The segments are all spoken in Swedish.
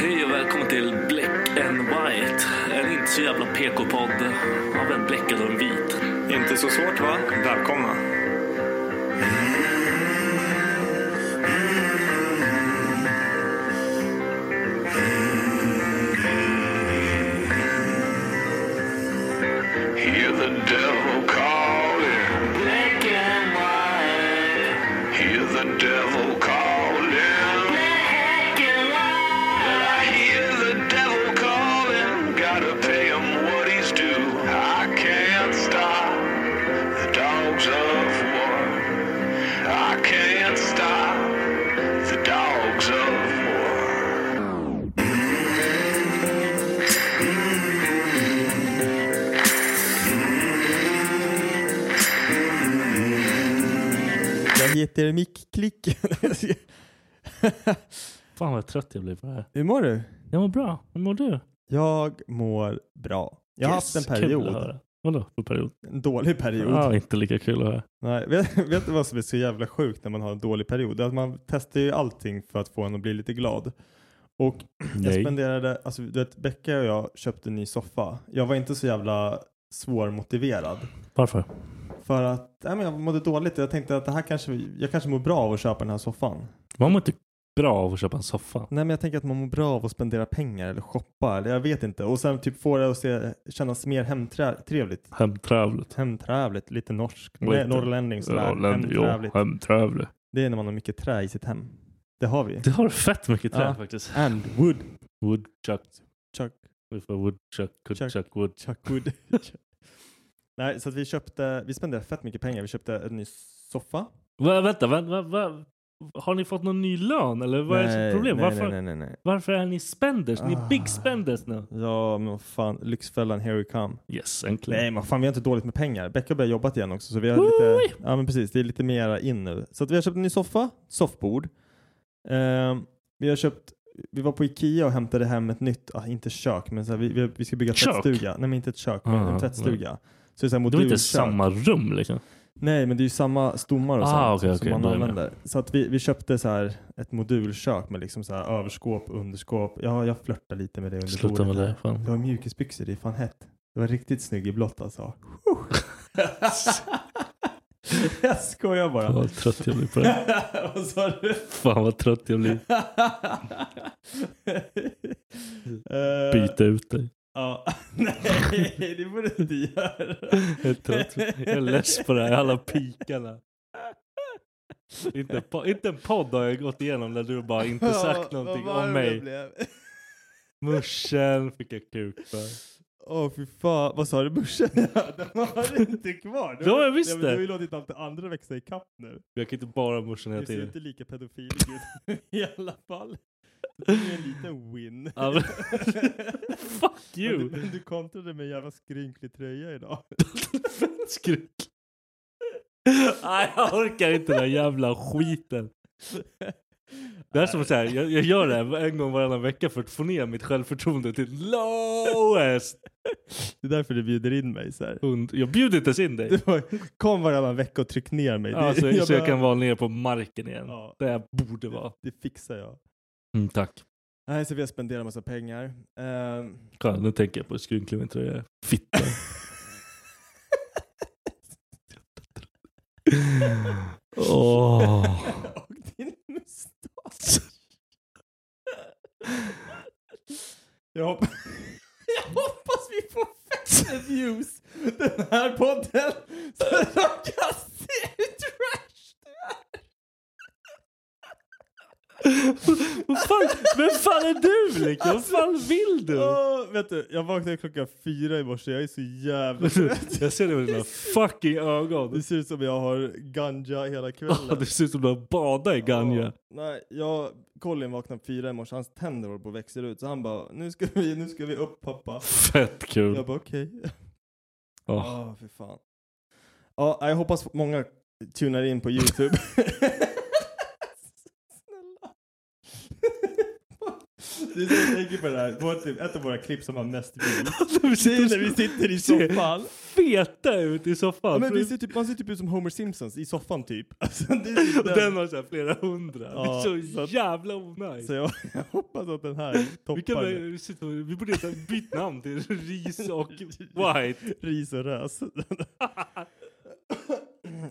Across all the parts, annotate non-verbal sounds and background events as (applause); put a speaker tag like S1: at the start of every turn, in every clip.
S1: Hej och välkommen till Black and White. En inte så jävla PK-podd av en bläckad och en vit.
S2: Inte så svårt va? Välkomna.
S3: Hear the devil calling. Black and white. Hear the devil calling. Black and white. I hear the devil calling. Gotta pay him what he's due. I can't stop the dogs of war. I can't stop the dogs of war.
S4: Jag heter Mick Klick.
S1: (laughs) Fan vad trött jag blir på det här.
S4: Hur mår du?
S1: Jag mår bra. Hur mår du?
S4: Jag mår bra. Jag har haft en
S1: Kul att
S4: period.
S1: höra. Vadå för period?
S4: En dålig period.
S1: Ja, inte lika kul att höra.
S4: Nej, (laughs) vet, vet du vad som är så jävla sjukt när man har en dålig period? Att man testar ju allting för att få en att bli lite glad.
S1: (clears throat)
S4: Och jag
S1: Nej.
S4: spenderade, alltså du vet Becka och jag köpte en ny soffa. Jag var inte så jävla svårmotiverad.
S1: Varför?
S4: För att nej, men jag mådde dåligt och jag tänkte att det här kanske, jag kanske mår bra av att köpa den här soffan.
S1: Man mår inte bra av att köpa en soffa.
S4: Nej men jag tänker att man mår bra av att spendera pengar eller shoppa eller jag vet inte. Och sen typ få det att se, kännas mer hemtrevligt.
S1: Hemtrevligt.
S4: Hemträvligt, lite norskt.
S1: Lite.
S4: Nej, norrlänning sådär.
S1: Norrland- jo,
S4: Hemträvligt.
S1: Hemtrevligt.
S4: Det är när man har mycket trä i sitt hem. Det har vi.
S1: Det har fett mycket träd
S4: Ja.
S1: faktiskt.
S4: And wood.
S1: Woodchuck.
S4: Chuck,
S1: Vi får woodchuck, woodchuck, wood.
S4: chuck wood. (laughs) Nej, så att vi köpte, vi spenderade fett mycket pengar. Vi köpte en ny soffa.
S1: Va, vänta, va, va, va, har ni fått någon ny lön eller vad är det
S4: Nej,
S1: som problem?
S4: Nej,
S1: varför,
S4: nej, nej, nej, nej.
S1: varför är ni spenders? Ni är
S4: Ah.
S1: big spenders nu.
S4: Ja, men vad fan. Lyxfällan, here we come.
S1: Yes, äntligen.
S4: Nej men fan vi har inte dåligt med pengar. Becka har börjat jobba igen också så vi har lite, ja men precis, det är lite mera in nu. Så att vi har köpt en ny soffa, soffbord. Ehm, vi har köpt, vi var på Ikea och hämtade hem ett nytt, ah, inte kök men så här, vi, vi, vi ska bygga
S1: Kök?
S4: tvättstuga. Nej men inte ett kök, men
S1: Ah,
S4: en tvättstuga. Så det är så här
S1: det var
S4: modulkök.
S1: inte samma rum liksom.
S4: Nej men det är ju samma stommar och
S1: Ah,
S4: sånt
S1: okej,
S4: som
S1: okej, då
S4: man
S1: är jag med.
S4: använder. Så att vi, vi köpte så här ett modulkök med liksom så här överskåp, underskåp. Ja, jag flörtar lite med det under
S1: Sluta
S4: bordet
S1: med
S4: här.
S1: det. Fan.
S4: Du har mjukisbyxor, det är fan hett. Du var riktigt snygg i blått alltså. (laughs) jag skojar
S1: Fan
S4: bara.
S1: vad trött jag blir på det.
S4: (laughs) Vad sa du?
S1: Fan vad trött jag blir.
S4: Eh,
S1: Byta ut dig.
S4: Ja. (laughs) Nej, det får du inte göra.
S1: Jag är trött. Jag är less på det här. Alla pikarna. Inte, en po- inte en podd har jag gått igenom där du bara inte sagt
S4: Ja, vad (laughs)
S1: någonting
S4: varm
S1: om
S4: jag
S1: mig.
S4: blev.
S1: Muschen fick jag kuk för.
S4: åh fy fan, vad sa du börsen? (laughs) Den har inte kvar.
S1: Ja, jag visste.
S4: Ja, men Du har ju låtit allt det andra växla i kapp nu.
S1: Jag kan inte bara morsan hela
S4: Du ser ju
S1: tiden.
S4: inte lika pedofil ut (laughs) i alla fall. Det är en liten win.
S1: Ja,
S4: (laughs)
S1: men- (laughs) Fuck
S4: Men Du,
S1: you!
S4: men du kontrade med en jävla skrynklig tröja idag.
S1: Skrik. Nej, jag orkar inte den här jävla skiten. Det här är som så här, jag, jag gör det här en gång varannan vecka för att få ner mitt självförtroende till lowest.
S4: Det är därför du bjuder in mig så här.
S1: Und- Jag bjuder inte ens in dig.
S4: Det var, kom varannan vecka och tryck ner mig. Det-
S1: Alltså, så jag
S4: bara-
S1: kan vara nere på marken igen.
S4: Ja.
S1: Där jag borde vara.
S4: Det, det fixar jag.
S1: Mm, tack.
S4: Nej, så vi har spenderat massa pengar. Ehm,
S1: Kolla, nu tänker jag på skrynklig min tröja. Fitta.
S4: (laughs)
S1: Åh.
S4: Och din mustasch. Jag, hopp... (laughs) jag hoppas vi får feta views den här podden. Så att de kan se hur trash du är.
S1: Vad fan, vem fan är du liksom? Vad fan vill du?
S4: Åh, vet du, jag vaknade klockan fyra i morse. Jag är så jävla trött.
S1: (laughs) Jag ser det med dina fucking ögon.
S4: Det ser ut som jag har ganja hela
S1: Ah,
S4: kvällen.
S1: (laughs) Det ser ut som du har badat i
S4: Ja.
S1: Ganja.
S4: Nej, jag, Colin vaknade fyra i morse, hans tänder håller på att växa ut. Så han bara, nu ska vi, nu ska vi upp pappa.
S1: Fett kul.
S4: Jag bara okej.
S1: Åh.
S4: Ja, för fan. Ja, jag hoppas många tunar in på
S1: (laughs)
S4: YouTube. Snälla. (laughs) Det är så jag tänker på det här. Vår, typ, ett av våra klipp som har mest views.
S1: (laughs) Vi
S4: Det är när vi sitter i soffan.
S1: Feta ut i
S4: Ja,
S1: soffan.
S4: men vi ser
S1: (laughs)
S4: typ, man ser typ ut som Homer Simpsons i soffan typ. Alltså, det är typ
S1: Och den har så här flera hundra.
S4: Ja,
S1: det är
S4: så
S1: så,
S4: att-
S1: jävla onajs.
S4: Så jag, (laughs) jag hoppas att den här
S1: Vi, kan,
S4: toppar
S1: väl-
S4: det.
S1: vi sitter- vi borde heta bytt namn till
S4: (laughs)
S1: Ris och White.
S4: ris och
S1: (laughs)
S4: rös.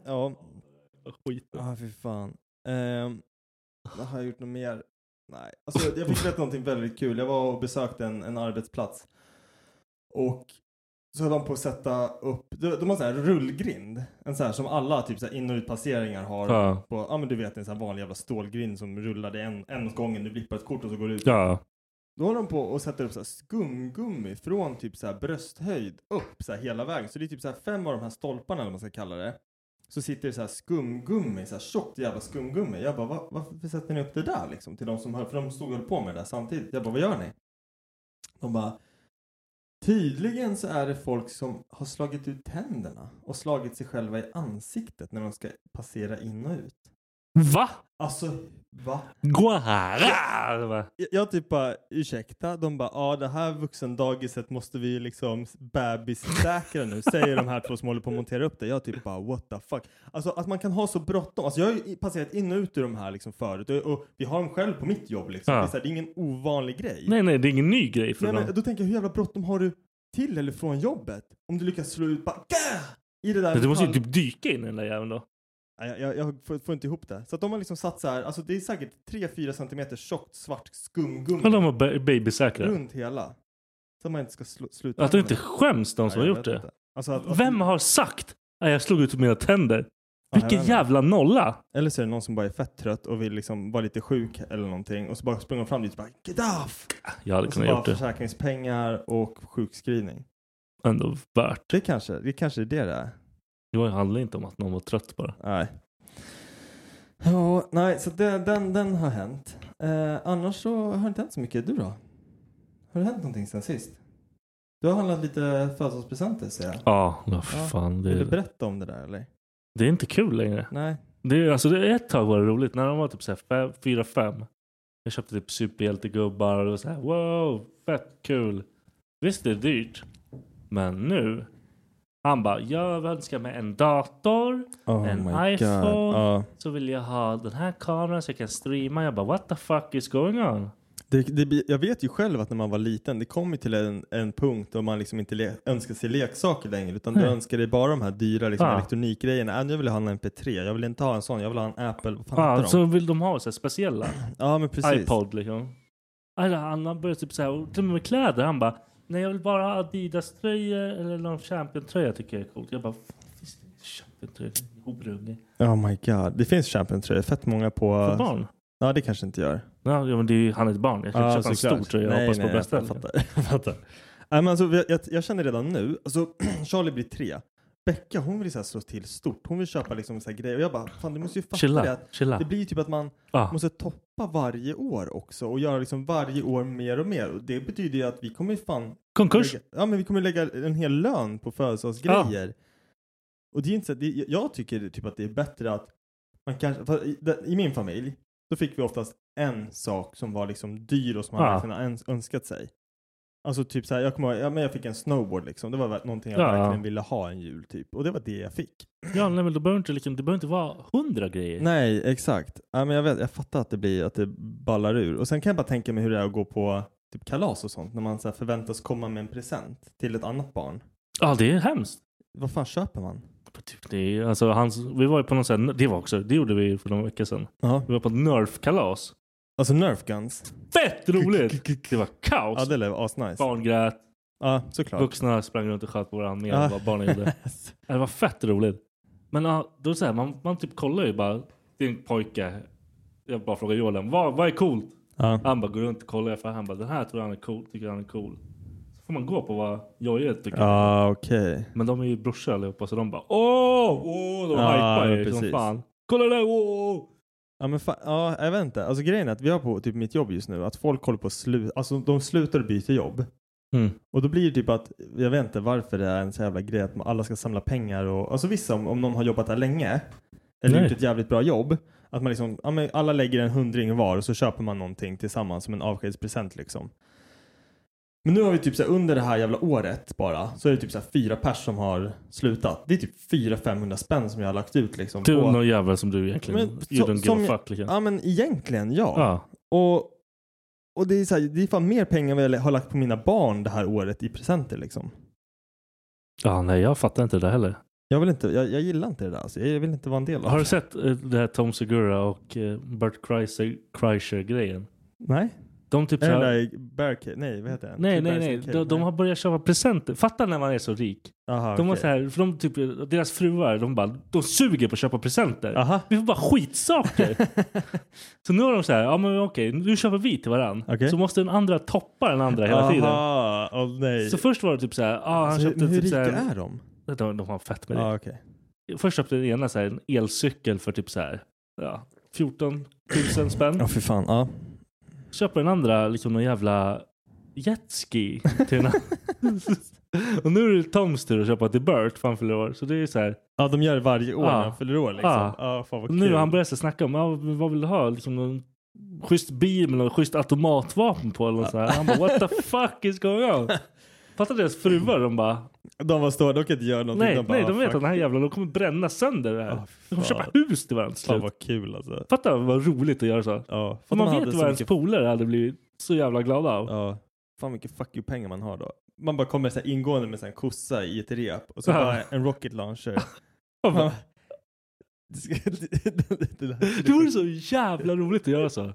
S4: ja,
S1: Skit.
S4: ah, fy fan. Ehm, har jag gjort något mer? Nej. Alltså, jag fick berätta någonting väldigt kul. Jag var och besökte en, en arbetsplats. Och så höll de på att sätta upp, de, de har så här rullgrind. En så här som alla typ så här in och utpasseringar har.
S1: Ja.
S4: På, ja men du vet en så här vanlig jävla stålgrind som rullar det en, en åt gången. Du blippar ett kort och så går du ut.
S1: Ja.
S4: Då håller de på och sätter upp så här skumgummi från typ så här brösthöjd upp så här hela vägen. Så det är typ så här fem av de här stolparna eller vad man ska kalla det. Så sitter det så här skumgummi, så här tjockt jävla skumgummi. Jag bara, "Va- varför sätter ni upp det där liksom? Till de som hör, för de stod och höll på med det där samtidigt. Jag bara, vad gör ni? De bara, tydligen så är det folk som har slagit ut tänderna och slagit sig själva i ansiktet när de ska passera in och ut.
S1: Va?
S4: Alltså, va?
S1: Guara!
S4: Jag- Jag typ bara, ursäkta? De bara, ja det här vuxendagiset måste vi ju liksom bebissäkra nu, säger de här två som håller på att montera upp det. Jag typ bara, what the fuck? Alltså att man kan ha så bråttom. Alltså jag har ju passerat in och ut ur de här liksom förut och, och vi har dem själv på mitt jobb liksom.
S1: Ja.
S4: Det, är så här, det är ingen ovanlig grej.
S1: Nej, nej, det är ingen ny grej för
S4: Nej, men
S1: dem.
S4: då tänker jag, hur jävla bråttom har du till eller från jobbet? Om du lyckas slå ut bara, "Gah!" i det där
S1: Du måste ju
S4: metall-
S1: typ dyka in i den där jäveln då.
S4: Nej, Jag, jag, jag får, får inte ihop det. Så att de har liksom satt så här, alltså det är säkert 3-4 centimeter tjockt svart skumgummi.
S1: Men de har ba- babysäkrat.
S4: Runt hela. Så att man inte ska sl- sluta.
S1: Att de inte skäms de som
S4: Nej,
S1: har
S4: jag
S1: gjort
S4: vet
S1: det.
S4: inte. Alltså att, att,
S1: Vem har sagt att jag slog ut mina tänder?
S4: Ja, jag
S1: Vilken
S4: vet inte.
S1: jävla nolla!
S4: Eller så är det någon som bara är fett trött och vill liksom vara lite sjuk eller någonting och så bara springer de fram dit och bara get off!
S1: Jag hade
S4: Och så
S1: kunnat
S4: bara
S1: gjort det.
S4: försäkringspengar och sjukskrivning.
S1: Ändå värt.
S4: Det kanske, det kanske är det det är.
S1: Det handlar inte om att någon var trött bara.
S4: Nej. Ja, nej, så det, den, den har hänt. Eh, annars så har det inte hänt så mycket. Du då? Har det hänt någonting sen sist? Du har handlat lite födelsedagspresenter ser jag.
S1: Ja, vad
S4: Ja.
S1: fan.
S4: Vill du
S1: Det,
S4: berätta om det där eller?
S1: det är inte kul längre.
S4: Nej.
S1: Det, är- alltså, det, ett tag var det roligt. När de var typ 4-5. Jag köpte typ superhjältegubbar och det var så här, wow, fett kul. Visst det är dyrt. Men nu. Han bara, jag önskar mig en dator.
S4: Oh
S1: En
S4: my
S1: iPhone.
S4: God. Ja.
S1: Så vill jag ha den här kameran så jag kan streama. Jag bara, what the fuck is going on?
S4: Det, det, blir- jag vet ju själv att när man var liten, det kom ju till en, en punkt då man liksom inte le, önskar sig leksaker längre utan du
S1: Nej. Ah.
S4: önskar dig bara de här dyra liksom,
S1: Ja.
S4: elektronikgrejerna. Äh, nu vill jag ha en MP3, jag vill inte ha en sån, jag vill ha en Apple. Vad fan
S1: Ja,
S4: heter
S1: Ah, så vill de ha så här speciella.
S4: de? (clears throat) Ja men precis.
S1: iPod liksom. Alltså, han han började typ så här, och till och med med kläder. Han bara, nej jag vill bara ha Adidas-tröjor eller någon Champion-tröja tycker jag är coolt. Jag bara, "Fan, finns det ingen Champion-tröja? Horunge.
S4: Oh my god. Det finns Champion-tröjor, fett många på...
S1: För barn?
S4: Ja det kanske inte gör.
S1: Ja, ja, men det är ju, han är ett barn. Jag kan inte köpa en stor tröja och
S4: Nej,
S1: hoppas på
S4: nej, (laughs)
S1: bästa.
S4: jag fattar. Jag fattar. Nej, men alltså, vi- jag, jag känner redan nu, alltså, (clears throat) Charlie blir tre. Becka hon vill så här, slå till stort. Hon vill köpa liksom, så här, grejer. Och jag bara, fan du måste ju fatta det.
S1: Chilla,
S4: Att
S1: chilla.
S4: det blir ju typ att man
S1: Ah.
S4: måste toppa varje år också och göra liksom varje år mer och mer. Och det betyder ju att vi kommer ju fan...
S1: Konkurs.
S4: Lägga, ja men vi kommer lägga en hel lön på födelsedagsgrejer. Och det är inte så, det, jag tycker typ att det är bättre att man kanske, för i, där- i min familj, då fick vi oftast en sak som var liksom dyr och som man
S1: Ja.
S4: verkligen har ens- önskat sig. Alltså typ så här, jag kommer ihåg, ja men jag fick en snowboard liksom. Det var väl någonting jag
S1: Ja.
S4: verkligen ville ha en jul typ. Och det var det jag fick.
S1: Ja, nej, men då behöver inte, liksom, det behöver inte vara hundra grejer.
S4: Nej, exakt. Ja, men jag, vet, jag fattar att det blir att det ballar ur. Och sen kan jag bara tänka mig hur det är att gå på typ kalas och sånt när man så här förväntas komma med en present till ett annat barn.
S1: Ja, det är hemskt.
S4: Vad fan köper man?
S1: Typ det är, alltså, hans, vi var ju på någon sån här, det var också, det gjorde vi för några veckor sedan.
S4: Ja.
S1: Vi var på ett nerfkalas.
S4: Alltså Nerf guns.
S1: Fett roligt! Det var
S4: Ja,
S1: kaos.
S4: det lär vara asnice.
S1: Barn grät,
S4: Ja, såklart.
S1: vuxna sprang runt och sköt på varandra mer
S4: Ja.
S1: än vad barnen
S4: (laughs)
S1: gjorde. Ja, Det var fett roligt. Men ja, då så här, man, man typ kollar ju bara. Din pojke. Jag bara frågar Jordan. Vad, vad är coolt?
S4: ja.
S1: Han bara går runt och kollar. För han bara den här tror han är cool. Tycker han är cool. Så får man gå på vad Jojje tycker.
S4: Ja, okej.
S1: Men de är ju brorsor allihopa. Så de bara åh. åh de
S4: Ja,
S1: hypar ju
S4: precis.
S1: som fan. Kolla där. Åh.
S4: Ja, men fa- ja, jag vet inte. Alltså grejen är att vi har på typ mitt jobb just nu att folk håller på att sluta, alltså de slutar och byter jobb.
S1: Mm.
S4: Och då blir det typ att, jag vet inte varför det är en så jävla grej att man- alla ska samla pengar och, alltså vissa om, om någon har jobbat där länge eller
S1: Nej.
S4: gjort ett jävligt bra jobb, att man liksom, ja men alla lägger en hundring var och så köper man någonting tillsammans som en avskedspresent liksom. Men nu har vi typ så här, under det här jävla året bara, så är det typ så här fyra pers som har slutat. Det är typ 400-500 spänn som jag har lagt ut liksom.
S1: Du
S4: på-
S1: är någon jävel som du egentligen.
S4: Men
S1: you
S4: så- som
S1: don't give a
S4: jag-
S1: fuck. Liksom.
S4: Ja men egentligen ja.
S1: Ja.
S4: Och, och det, är så här, det är fan mer pengar än vad jag har lagt på mina barn det här året i presenter liksom.
S1: ja. Nej jag fattar inte det heller.
S4: Jag, vill inte, jag, jag gillar inte det där alltså. Jag vill inte vara en del av det.
S1: Har du sett eh, det här Tom Segura och eh, Bert Kreischer, Kreischer grejen?
S4: Nej.
S1: De typ
S4: Är
S1: så
S4: det
S1: här-
S4: där Barricade? Nej, vad heter den?
S1: Nej,
S4: Typ
S1: nej, nej.
S4: Barricade Cave,
S1: De, de har börjat köpa presenter. Fatta när man är så rik.
S4: Aha,
S1: De har
S4: okej.
S1: så här, för de typ, deras fruar, de bara, de suger på att köpa presenter.
S4: Aha.
S1: Vi får
S4: (laughs)
S1: bara skitsaker. så nu har de så här, ja men okej, nu köper vi till varann.
S4: Okej.
S1: Så måste den andra toppa den andra hela tiden.
S4: Aha, åh nej.
S1: Så först var det typ så här, ja han
S4: Alltså,
S1: köpte
S4: hur, hur
S1: typ så
S4: rika
S1: här,
S4: är de?
S1: de, de har fett med det.
S4: Ja, okej.
S1: Först köpte den ena så här, en elcykel för typ så här, ja, 14 000 spänn.
S4: Ja, för fan. Ja.
S1: köper den andra liksom någon jävla jetski till den
S4: (laughs)
S1: andra. Och nu är det Toms tur att köpa till Bert för han fyller år. Så det är så här.
S4: ja, de gör det varje år
S1: Ja.
S4: när de fyller år liksom.
S1: Ja.
S4: Ja, fan vad
S1: Nu
S4: kul.
S1: har han börjat så snacka om ja, men vad vill du ha? Liksom någon schysst bil med någon schysst automatvapen på eller något så här. Han bara what the fuck is going on? Fattar deras fruar de bara
S4: De var stora, de kan inte göra någonting.
S1: nej,
S4: de bara,
S1: nej de
S4: ah,
S1: vet
S4: fuck
S1: att den här jävla de kommer bränna sönder det här.
S4: Ah,
S1: de kommer köpa
S4: fan.
S1: hus till varandra till
S4: Fan
S1: slut.
S4: vad kul alltså.
S1: Fatta vad roligt att göra så.
S4: Ja, fattar
S1: För man
S4: hade
S1: vet
S4: så
S1: vad ens
S4: mycket-
S1: polare hade blivit så jävla glada av.
S4: Ja. Fan vilket fuck you pengar man har då. Man bara kommer så här (laughs) ingående med så här en kossa i ett rep och så
S1: Ja.
S4: bara
S1: (laughs)
S4: en rocket launcher. (laughs)
S1: Man bara,
S4: Man- Det ska- det- det- det (laughs) där-
S1: Det vore så jävla roligt att göra så.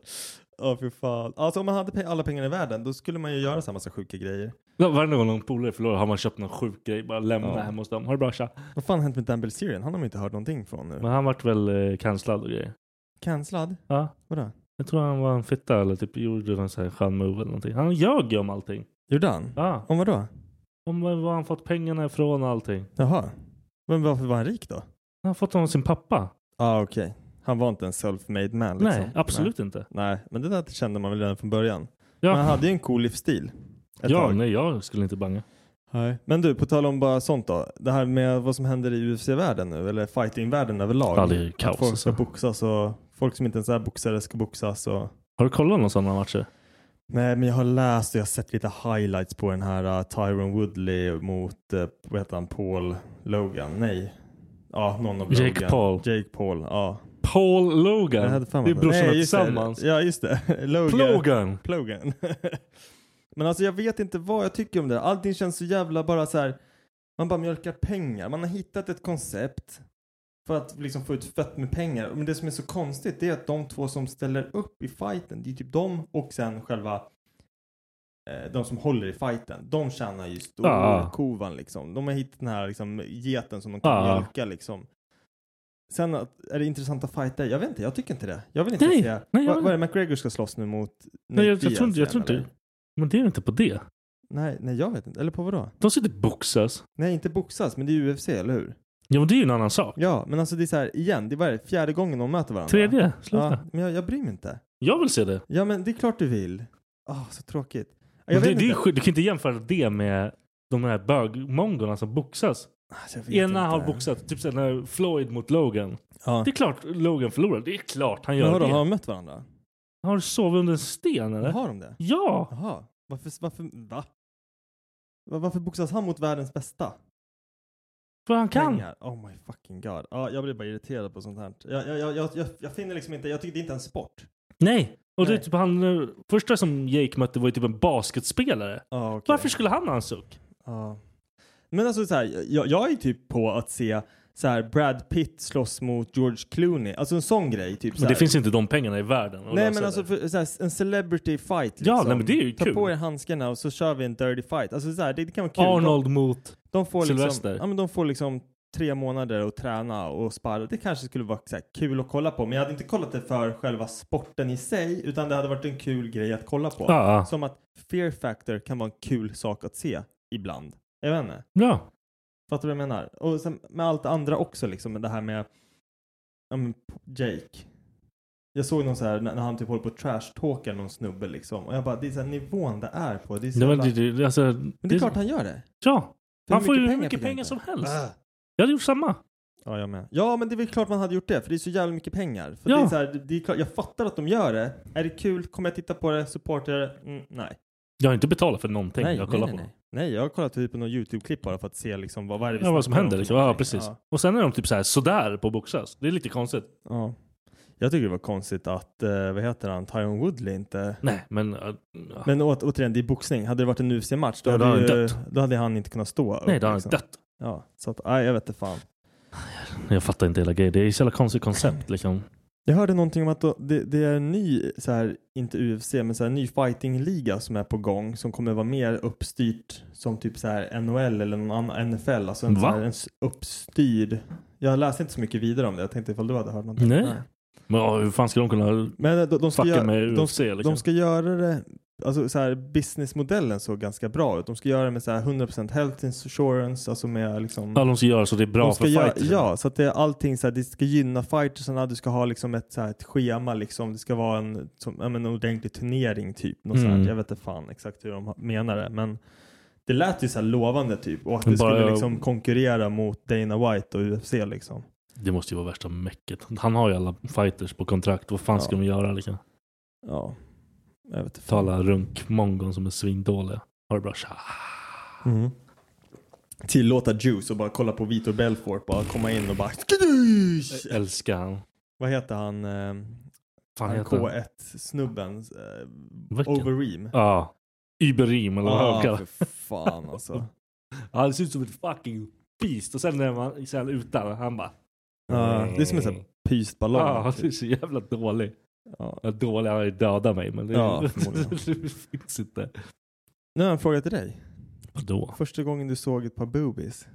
S4: Ja för fan. Alltså om man hade pe- alla pengar i världen då skulle man ju göra så här massa sjuka grejer.
S1: Ja, Varje gång någon polare förlorar har man köpt någon sjuk grej. Bara lämna
S4: Ja.
S1: hemma hos dem. Har det bra tja.
S4: Vad fan har hänt med Dan Bilzerian? Han har man inte hört någonting från nu.
S1: Men han vart väl eh, cancellad och grejer.
S4: Cancellad?
S1: Ja.
S4: Vadå?
S1: Jag tror han var en fitta eller typ gjorde någon sån här skön move eller någonting. Han ljög ju om allting.
S4: Gjorde han?
S1: Ja.
S4: Om vadå?
S1: Om var han fått pengarna ifrån och allting.
S4: Jaha. Men varför var han rik då? Ja
S1: Han har fått dem av sin pappa.
S4: ah, okej. Han var inte en self-made man liksom.
S1: Nej, absolut inte.
S4: Nej. Nej, men det där kände man väl redan från början. Men han
S1: Ja,
S4: hade ju en cool livsstil. Ett
S1: ja
S4: tag.
S1: nej jag skulle inte banga.
S4: Nej. Men du, på tal om bara sånt då. Det här med vad som händer i UFC-världen nu, eller fighting-världen överlag.
S1: Ja, det är ju kaos
S4: Att folk ska
S1: alltså.
S4: boxas och folk som inte ens är boxare ska boxas. Och...
S1: Har du kollat någon sån här matcher?
S4: Nej, men jag har läst och jag har sett lite highlights på den här uh, Tyron Woodley mot, uh, vad heter han, Paul Logan? Nej. Ja, någon av
S1: Jake
S4: Logan.
S1: Paul.
S4: Jake Paul, ja.
S1: Paul
S4: Jag
S1: Logan.
S4: hade för mig det.
S1: Det är brorsorna
S4: Nej, just det.
S1: tillsammans.
S4: Ja, just det. (laughs) Logan.
S1: Logan.
S4: Plogan. (laughs) men alltså jag vet inte vad jag tycker om det. Allting känns så jävla bara så här. Man bara mjölkar pengar. Man har hittat ett koncept för att liksom få ut fett med pengar. Men det som är så konstigt det är att de två som ställer upp i fighten, det är typ de och sen själva eh, de som håller i fighten. De tjänar ju
S1: Ja.
S4: storkovan liksom. De har hittat den här liksom geten som de kan
S1: Ja.
S4: mjölka liksom. Sen att, är det intressanta fighter? Jag vet inte, jag tycker inte det. Jag vill inte
S1: Nej,
S4: se.
S1: nej, jag
S4: Vad-
S1: vet
S4: vad är det McGregor ska slåss nu mot
S1: Nej, jag- jag
S4: Nate
S1: tror inte- jag
S4: Diaz
S1: tror inte-
S4: igen, eller?
S1: Men det är inte på det.
S5: Nej, nej, jag vet inte. Eller på vadå?
S1: De sitter och boxas.
S5: Nej, inte boxas, men det är ju UFC, eller hur?
S1: Jo, men det är ju en annan sak.
S5: Ja, men alltså det är så här igen. Det är bara fjärde gången de möter varandra.
S1: Tredje, sluta.
S5: Ja, men jag, jag bryr mig inte.
S1: Jag vill se det.
S5: Ja, men det är klart du vill. Ah, så tråkigt. Ja,
S1: Men
S5: Jag
S1: det,
S5: vet
S1: det är
S5: inte.
S1: skit- du kan inte jämföra det med de här bögmongorna som boxas.
S5: Alltså, jag vet
S1: Ena
S5: inte.
S1: har boxat, typ såhär när Floyd mot Logan.
S5: Ja.
S1: Det är klart Logan förlorar. Det är klart han
S5: Men
S1: gör
S5: vadå,
S1: det.
S5: har de mött varandra?
S1: Har du sovit under en sten eller?
S5: Har de det?
S1: Ja!
S5: Jaha. Varför, varför, va? Va- Varför boxas han mot världens bästa?
S1: För han kan.
S5: Pengar. Oh my fucking god. Ja, jag blir bara irriterad på sånt här. Jag, jag, jag, jag, jag, jag finner liksom inte, jag tycker det är inte en sport.
S1: Nej! Och det är
S5: Nej.
S1: typ han, eh, första som Jake mötte var ju typ en basketspelare.
S5: Ja, okej. Typ
S1: Varför skulle han ha en suck?
S5: Ja. Men alltså så här, jag, jag är typ på att se så här Brad Pitt slåss mot George Clooney. Alltså en sån grej. Typ, så
S1: Men
S5: här.
S1: det finns inte de pengarna i världen. att
S5: Nej
S1: lösa
S5: men
S1: det.
S5: alltså för, så här, en celebrity fight
S1: Ja,
S5: liksom.
S1: nej, men det är ju
S5: Ta
S1: kul.
S5: på er handskarna och så kör vi en dirty fight. Alltså så här, det, det kan vara kul.
S1: Arnold mot...
S5: de, de får
S1: Sylvester.
S5: liksom, ja, men de får liksom tre månader att träna och sparra. Det kanske skulle vara så här, kul att kolla på. Men jag hade inte kollat det för själva sporten i sig utan det hade varit en kul grej att kolla på.
S1: Ja,
S5: Som att fear factor kan vara en kul sak att se ibland. Jag vet inte.
S1: bra.
S5: Fattar du vad jag menar? Och sen med allt det andra också liksom, med det här med ja, men Jake. Jag såg någon så här när när han typ håller på att trashtalka någon snubbe liksom. Och jag bara, det är så här nivån det är på. Det är så
S1: Det var,
S5: jävla...
S1: det, det, alltså,
S5: Men det är klart han gör det.
S1: Ja.
S5: För
S1: Han
S5: hur
S1: får ju hur
S5: fick
S1: mycket
S5: han
S1: pengar
S5: inte?
S1: som helst.
S5: Ah.
S1: Jag hade gjort samma.
S5: Ja, jag med. Ja, men det är väl klart man hade gjort det. För det är så jävla mycket pengar. För
S1: Ja.
S5: det är så här, det är klart, jag fattar att de gör det. Är det kul? Kommer jag titta på det? Supportar jag det? Mm, nej.
S1: Jag har inte betalat för någonting
S5: nej,
S1: jag kollar
S5: nej,
S1: på.
S5: nej, nej. Nej, jag har kollat typ på någon YouTube-klipp bara för att se liksom vad, vad är det vi
S1: Ja, vad som
S5: snackar om
S1: händer
S5: för
S1: liksom. Ja,
S5: någonting.
S1: precis. Och sen är de typ så här, sådär på boxas. Det är lite konstigt.
S5: Ja. Jag tycker det var konstigt att, eh, vad heter han, Tyron Woodley inte...
S1: Nej, men... äh, ja.
S5: Men å, återigen, det är boxning. Hade det varit en UFC-match då,
S1: Ja, då
S5: hade
S1: hade han
S5: ju-
S1: dött.
S5: då hade han inte kunnat stå upp,
S1: nej, då har han
S5: liksom.
S1: dött.
S5: Ja, så att, nej, jag vet inte fan.
S1: Jag fattar inte hela grejen. Det är ett så jävla konstigt koncept liksom.
S5: Jag hörde någonting om att då, det, det är en ny, så här, inte UFC, men så här, ny fighting-liga som är på gång som kommer vara mer uppstyrt som typ så här NHL eller någon annan NFL. Alltså en, så
S1: Va?
S5: här, en s- uppstyrd. Jag läste inte så mycket vidare om det. Jag tänkte ifall du hade hört någonting.
S1: Nej. Men ja, hur fan ska de kunna
S5: Men eh, de, de, ska
S1: fucka
S5: göra,
S1: med
S5: de,
S1: UFC liksom?
S5: De ska göra det, alltså så här, businessmodellen såg ganska bra ut. De ska göra det med så här 100% health insurance, alltså med liksom...
S1: Ja, de ska göra så det är bra
S5: de ska
S1: för
S5: göra,
S1: fighters.
S5: ja, så att det är allting så här, det ska gynna fighterserna, du ska ha liksom ett, så här, ett schema liksom, det ska vara en, som, ja, men, en ordentlig turnering typ. Något så här.
S1: Mm.
S5: Jag vet inte fan exakt hur de ha- menar det, men det lät ju så här lovande typ och att det
S1: Bara-
S5: skulle liksom konkurrera mot Dana White och UFC liksom.
S1: Det måste ju vara värsta mäcket. Han har ju alla fighters på kontrakt. Vad fan ska
S5: Ja.
S1: de göra liksom?
S5: Ja, jag vet inte. fan.
S1: Tala runkmongon som är svindåliga. Har det bra. Tja.
S5: Mm. Tillåta Juice och bara kolla på Vitor Belfort bara komma in och bara
S1: Jag älskar han.
S5: Eh, Vad heter han? eh,
S1: Fan
S5: han
S1: heter han?
S5: K1-snubben? eh,
S1: Vilken?
S5: Overeem?
S1: Ja. Iberim eller vad
S5: Ah,
S1: han kallar
S5: för fan alltså.
S1: (laughs) Han ser ut som ett fucking beast. Och sen när man sen utan han bara...
S5: Ja, det är som en sån här pyst ballong. typ.
S1: Ja, han är så jävla dålig.
S5: Ja.
S1: Ja, Dålig, han har ju dödat mig. Men det, (laughs)
S5: Ja, förmodligen.
S1: det finns inte.
S5: Nu har jag en fråga till dig.
S1: Vadå?
S5: Första gången du såg ett par boobies.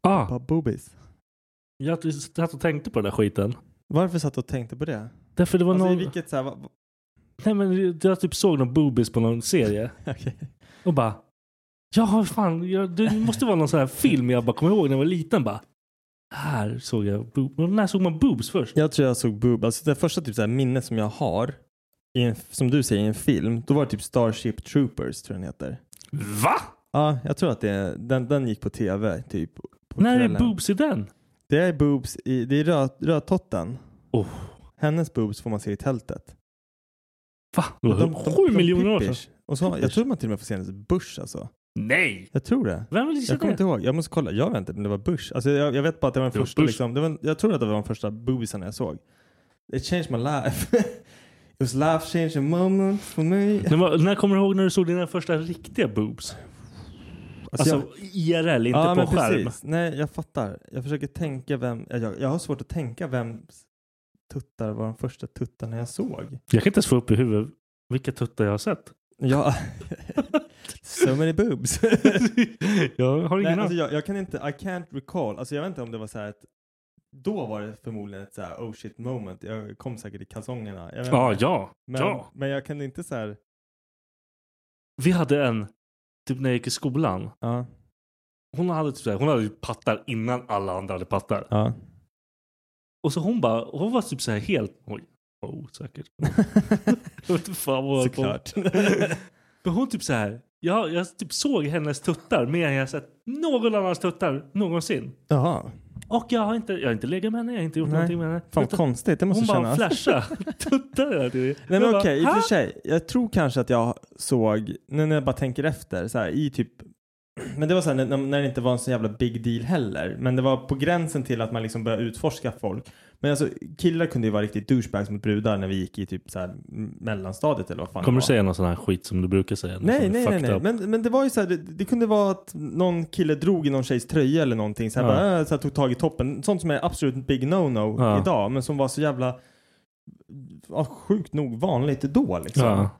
S1: Ah,
S5: Ett par boobies.
S1: jag satt och tänkte på den där skiten.
S5: Varför satt du och tänkte på det?
S1: Därför det var
S5: Alltså i
S1: någon...
S5: vilket så här, va- va-
S1: Nej men jag typ såg någon boobies på någon serie.
S5: (laughs) Okej.
S1: Och bara, ja fan, jag, det måste vara någon sån här film jag bara kommer ihåg när jag var liten. Bara, här såg jag boobs. Men när såg man boobs först?
S5: Jag tror jag såg boob, alltså det första typ så här minnet som jag har, i en, som du säger i en film, då var det typ Starship Troopers tror jag den heter.
S1: Va?
S5: Ja, jag tror att det, den, den gick på tv typ. På
S1: när är
S5: kvällen.
S1: boobs i den?
S5: Det är boobs i, det är röd, rödtotten.
S1: Oh.
S5: Hennes boobs får man se i tältet.
S1: Va? Det var sju miljoner år sedan.
S5: pippish. Och så, jag tror man till och med får se hennes Bush alltså.
S1: Nej!
S5: Jag tror det.
S1: Vem vill gissa
S5: Jag kommer inte
S1: det?
S5: ihåg. Jag måste kolla. Jag vet inte men det var Bush. Alltså jag, jag vet bara att det var
S1: Det
S5: den
S1: var
S5: första
S1: Bush.
S5: liksom. Det var, en- jag tror att det var de första boobisarna jag såg. It changed my life. (laughs) It was life changing moment for me.
S1: När, var- när kommer du ihåg när du såg dina första riktiga boobs? Alltså,
S5: jag-
S1: IRL, inte
S5: ja,
S1: på
S5: men
S1: skärm.
S5: Precis. Nej, jag fattar. Jag försöker tänka vem... Jag, jag, jag har svårt att tänka vem tuttar var de första tuttarna jag såg.
S1: Jag kan inte ens få upp i huvudet vilka tuttar jag har sett.
S5: Ja, (laughs) so many boobs.
S1: (laughs) jag har ingen
S5: Nej,
S1: aning.
S5: alltså jag, jag kan inte, I can't recall. Alltså jag vet inte om det var så här att då var det förmodligen ett så här oh shit moment. Jag kom säkert i kalsongerna. Jag vet
S1: Ja,
S5: inte.
S1: ja.
S5: Men,
S1: ja.
S5: men jag kan inte så här,
S1: Vi hade en typ när jag gick i skolan.
S4: Ja.
S1: Hon hade, typ så här, hon hade ju pattar innan alla andra hade pattar.
S4: Ja.
S1: Och så hon bara, hon var typ så här helt, oj, vad
S4: (laughs)
S1: osäkert. jag vet inte fan vad hon höll på med.
S4: Såklart.
S1: (laughs) Men hon typ så här, jag, jag typ såg hennes tuttar mer än jag sett någon annans tuttar någonsin.
S4: Jaha.
S1: Och jag har inte, jag har inte legat med henne, jag har inte gjort
S4: Nej.
S1: någonting med henne.
S4: Fan vad
S1: Utan
S4: konstigt, det måste
S1: hon bara
S4: kännas.
S1: flashade tuttar hela tiden.
S4: Nej men
S1: Jag bara,
S4: okej, i och
S1: "Ha?"
S4: för sig. Jag tror kanske att jag såg, nu när jag bara tänker efter, så här, i typ men det var så här, när, när det inte var en så jävla big deal heller. Men det var på gränsen till att man liksom började utforska folk. Men alltså killar kunde ju vara riktigt douchebags mot brudar när vi gick i typ så här m- mellanstadiet eller vad fan det
S1: Kommer
S4: var.
S1: du säga någon sån här skit som du brukar säga? Någon
S4: Nej,
S1: sån
S4: nej, nej,
S1: fucked
S4: nej.
S1: up?
S4: Men, men det var ju så här, det, det kunde vara att någon kille drog i någon tjejs tröja eller någonting. Så här,
S1: Ja.
S4: bara, äh, så här, tog tag i toppen. Sånt som är absolut en big no-no
S1: Ja.
S4: idag. Men som var så jävla ja, sjukt nog vanligt då liksom.
S1: Ja.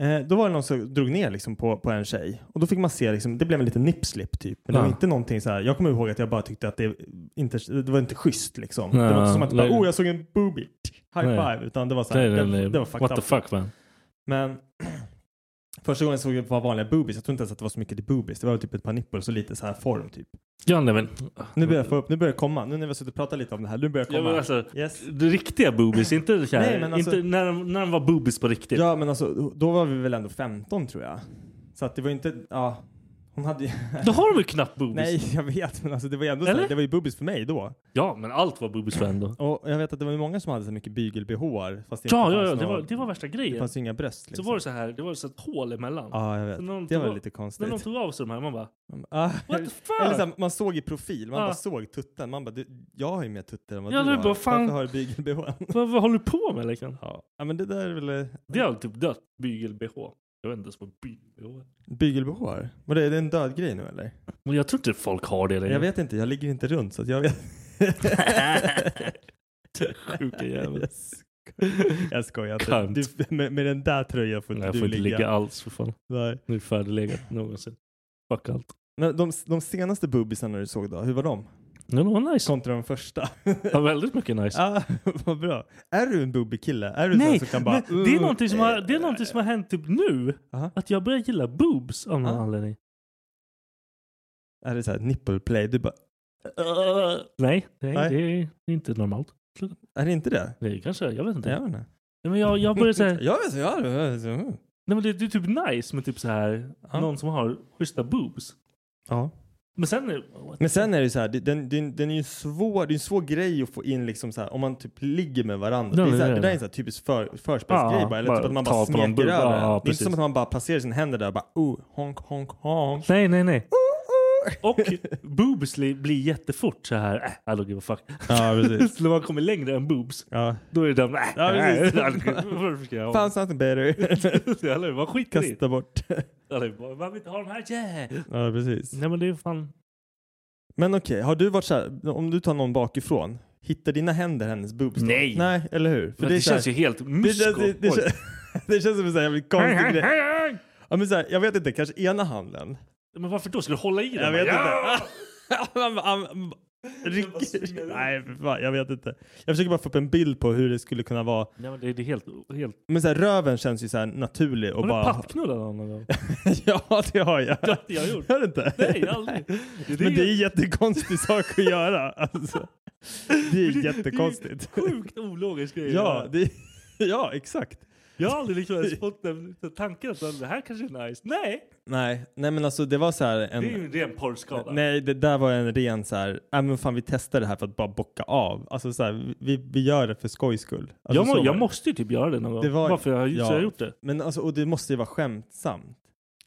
S4: Eh, då var det någon som drog ner liksom, på, på en tjej. Och då fick man se, liksom, det blev en liten nipslip typ. Men det var
S1: Ja.
S4: inte någonting så här, jag kommer ihåg att jag bara tyckte att det, inte, det var inte schysst liksom.
S1: Nej,
S4: det var inte som att bara,
S1: nej.
S4: oh jag såg en boobie, high
S1: Nej.
S4: five. Utan det var så här,
S1: Nej, nej,
S4: det,
S1: nej.
S4: det var fucked
S1: What the
S4: up.
S1: fuck man?
S4: Men (clears throat) första gången jag såg ett par vanliga boobies, jag tror inte ens att det var så mycket till boobies. Det var typ ett par nipples och lite så här form typ.
S1: Ja, nej, men.
S4: Nu börjar jag få upp, nu börjar jag komma. Nu när vi har suttit och pratat lite om det här, nu börjar jag
S1: Ja,
S4: komma.
S1: men alltså,
S4: yes.
S1: det riktiga boobies, inte, det här,
S4: Nej, men alltså-
S1: inte när, de- när de var boobies på riktigt.
S4: ja men alltså, då var vi väl ändå 15 tror jag. Så att det var ju inte, ja. Hon hade ju...
S1: Då har de ju knappt boobies.
S4: Nej, jag vet, men alltså det var ju ändå så
S1: Eller?
S4: här, det var ju boobies för mig då.
S1: Ja, men allt var boobies för ändå.
S4: Och jag vet att det var ju många som hade så mycket bygel-bh fast det
S1: Ja,
S4: inte fanns
S1: ja, ja. Det
S4: några-
S1: var, det var värsta
S4: det
S1: grejen.
S4: fanns ju inga bröst
S1: Så
S4: liksom.
S1: var det så här, det var så ett hål emellan.
S4: Ja, jag
S1: Så
S4: vet.
S1: när de
S4: det
S1: tog
S4: var
S1: av-
S4: lite
S1: När
S4: konstigt.
S1: de tog av sig de här, man bara
S4: Ah,
S1: what the
S4: Eller så
S1: fuck?
S4: här, man såg i profil, man
S1: Ja.
S4: bara såg tutten. Man bara, du, jag har ju mer tutter än vad
S1: Ja,
S4: du
S1: det är
S4: har.
S1: bara, fan.
S4: Varför har du bygel-bh?
S1: (laughs) Vad, vad håller du på med liksom?
S4: Ja. ja, men det där är väl eh,
S1: Det har typ dött, bygel-bh. Jag vet inte ens vad bygel-bh är.
S4: bygel-bh? Vadå, är det en död grej nu eller?
S1: Men jag tror inte folk har det längre.
S4: Jag vet inte, jag ligger inte runt så att jag vet.
S1: (laughs) Sjuka jävel.
S4: Jag sk- Jag skojar inte.
S1: Kant.
S4: Du, med, med den där tröjan får
S1: Nej,
S4: inte
S1: jag
S4: du
S1: får inte
S4: ligga.
S1: ligga. alls för fan.
S4: Nej.
S1: Nu är det färdiglegat någonsin. Fuck allt.
S4: Men de, de senaste bubisarna du såg då, hur var de?
S1: Men det var nice.
S4: Kontra de första.
S1: Ja, väldigt mycket nice.
S4: ah, (laughs) vad bra. Är du en bubikille? Är du sån
S1: Nej,
S4: som kan bara...
S1: men det är någonting som har, det är någonting som har hänt typ nu.
S4: Aha.
S1: Att jag börjar gilla boobs av någon
S4: Ja.
S1: anledning.
S4: Är det såhär nipple play? Du bara...
S1: Nej, nej,
S4: Nej.
S1: det är inte normalt.
S4: Är det inte det?
S1: Det är kanske, jag vet inte.
S4: Jag vet inte.
S1: Nej, men jag, jag börjar säga,
S4: (laughs) Jag vet, jag vet. jag vet.
S1: nej men det, det är typ nice med typ så här
S4: Ja.
S1: någon som har schyssta boobs.
S4: Ja.
S1: Men sen är
S4: Men sen är det så här, det- den, den, den är ju svår, det är en svår grej att få in liksom så här, om man typ ligger med varandra. det,
S1: Ja,
S4: är
S1: det
S4: så
S1: är
S4: här, det
S1: det.
S4: där är en så här typisk för, förspelsgrej
S1: Ja,
S4: bara, eller
S1: bara
S4: typ att man
S1: ta
S4: bara
S1: på någon
S4: smeker
S1: bubbe.
S4: över.
S1: Ja,
S4: det är inte som
S1: precis.
S4: att man bara placerar sina händer där och bara oh, honk, honk, honk. Oh,
S1: Nej,
S4: (laughs)
S1: nej, nej. Och boobs li- blir jättefort så här, äh, I don't give a fuck.
S4: Ja, precis.
S1: (laughs) Så när man kommer längre än boobs,
S4: Ja.
S1: då är det den, äh,
S4: Ja, precis.
S1: äh, (laughs) I don't give a fuck. Varför ska jag ha-
S4: Fanns something better.
S1: (laughs) Eller hur? Man skiter i det.
S4: Kasta bort.
S1: (laughs) Eller hur? Man vill inte ha de här, yeah.
S4: Ja, precis.
S1: Nej men det är fan,
S4: Men okej, har du varit så här, om du tar någon bakifrån, hittar dina händer hennes boobs? då?
S1: Nej.
S4: Nej, eller hur?
S1: det,
S4: är så här-
S1: känns ju helt
S4: det
S1: mysko.
S4: känns, det, det,
S1: Oj.
S4: känns, det känns (laughs) som en så här jävligt
S1: Hej,
S4: konstig
S1: hej,
S4: grej.
S1: hej, hej.
S4: Ja, men så här, jag vet inte, kanske ena handen.
S1: Men varför då? Ska du hålla i den?
S4: Jag vet
S1: Ja!
S4: inte. (laughs) Han bara- han bara rycker. Nej, för fan, jag vet inte. Jag försöker bara få upp en bild på hur det skulle kunna vara.
S1: Nej men det, det är helt... helt...
S4: Men så här, röven känns ju så här naturlig och
S1: Har du
S4: bara...
S1: pattknullat någon någon gång?
S4: (laughs) ja, det har jag.
S1: Det har inte jag gjort.
S4: Har du inte? (laughs)
S1: Nej, aldrig. Det
S4: Men det är en jättekonstig sak att göra. Alltså, det är jättekonstigt.
S1: Det är en sjukt ologisk grej.
S4: Ja, det (laughs) är, ja, exakt.
S1: Jag har aldrig liksom ens fått den den tanken att det här kanske är nice. Nej!
S4: Nej, nej men alltså det var så här en...
S1: Det är ju en ren porrskada.
S4: Nej, det där var en ren så här, äh, men fan vi testar det här för att bara bocka av. Alltså så här, vi, vi gör det för skojs skull. Alltså, så
S1: jag, må,
S4: var
S1: jag
S4: det.
S1: måste ju typ göra det någon gång.
S4: Det var-
S1: Varför jag,
S4: ja.
S1: så jag har gjort det.
S4: Men alltså, och det måste ju vara skämtsamt.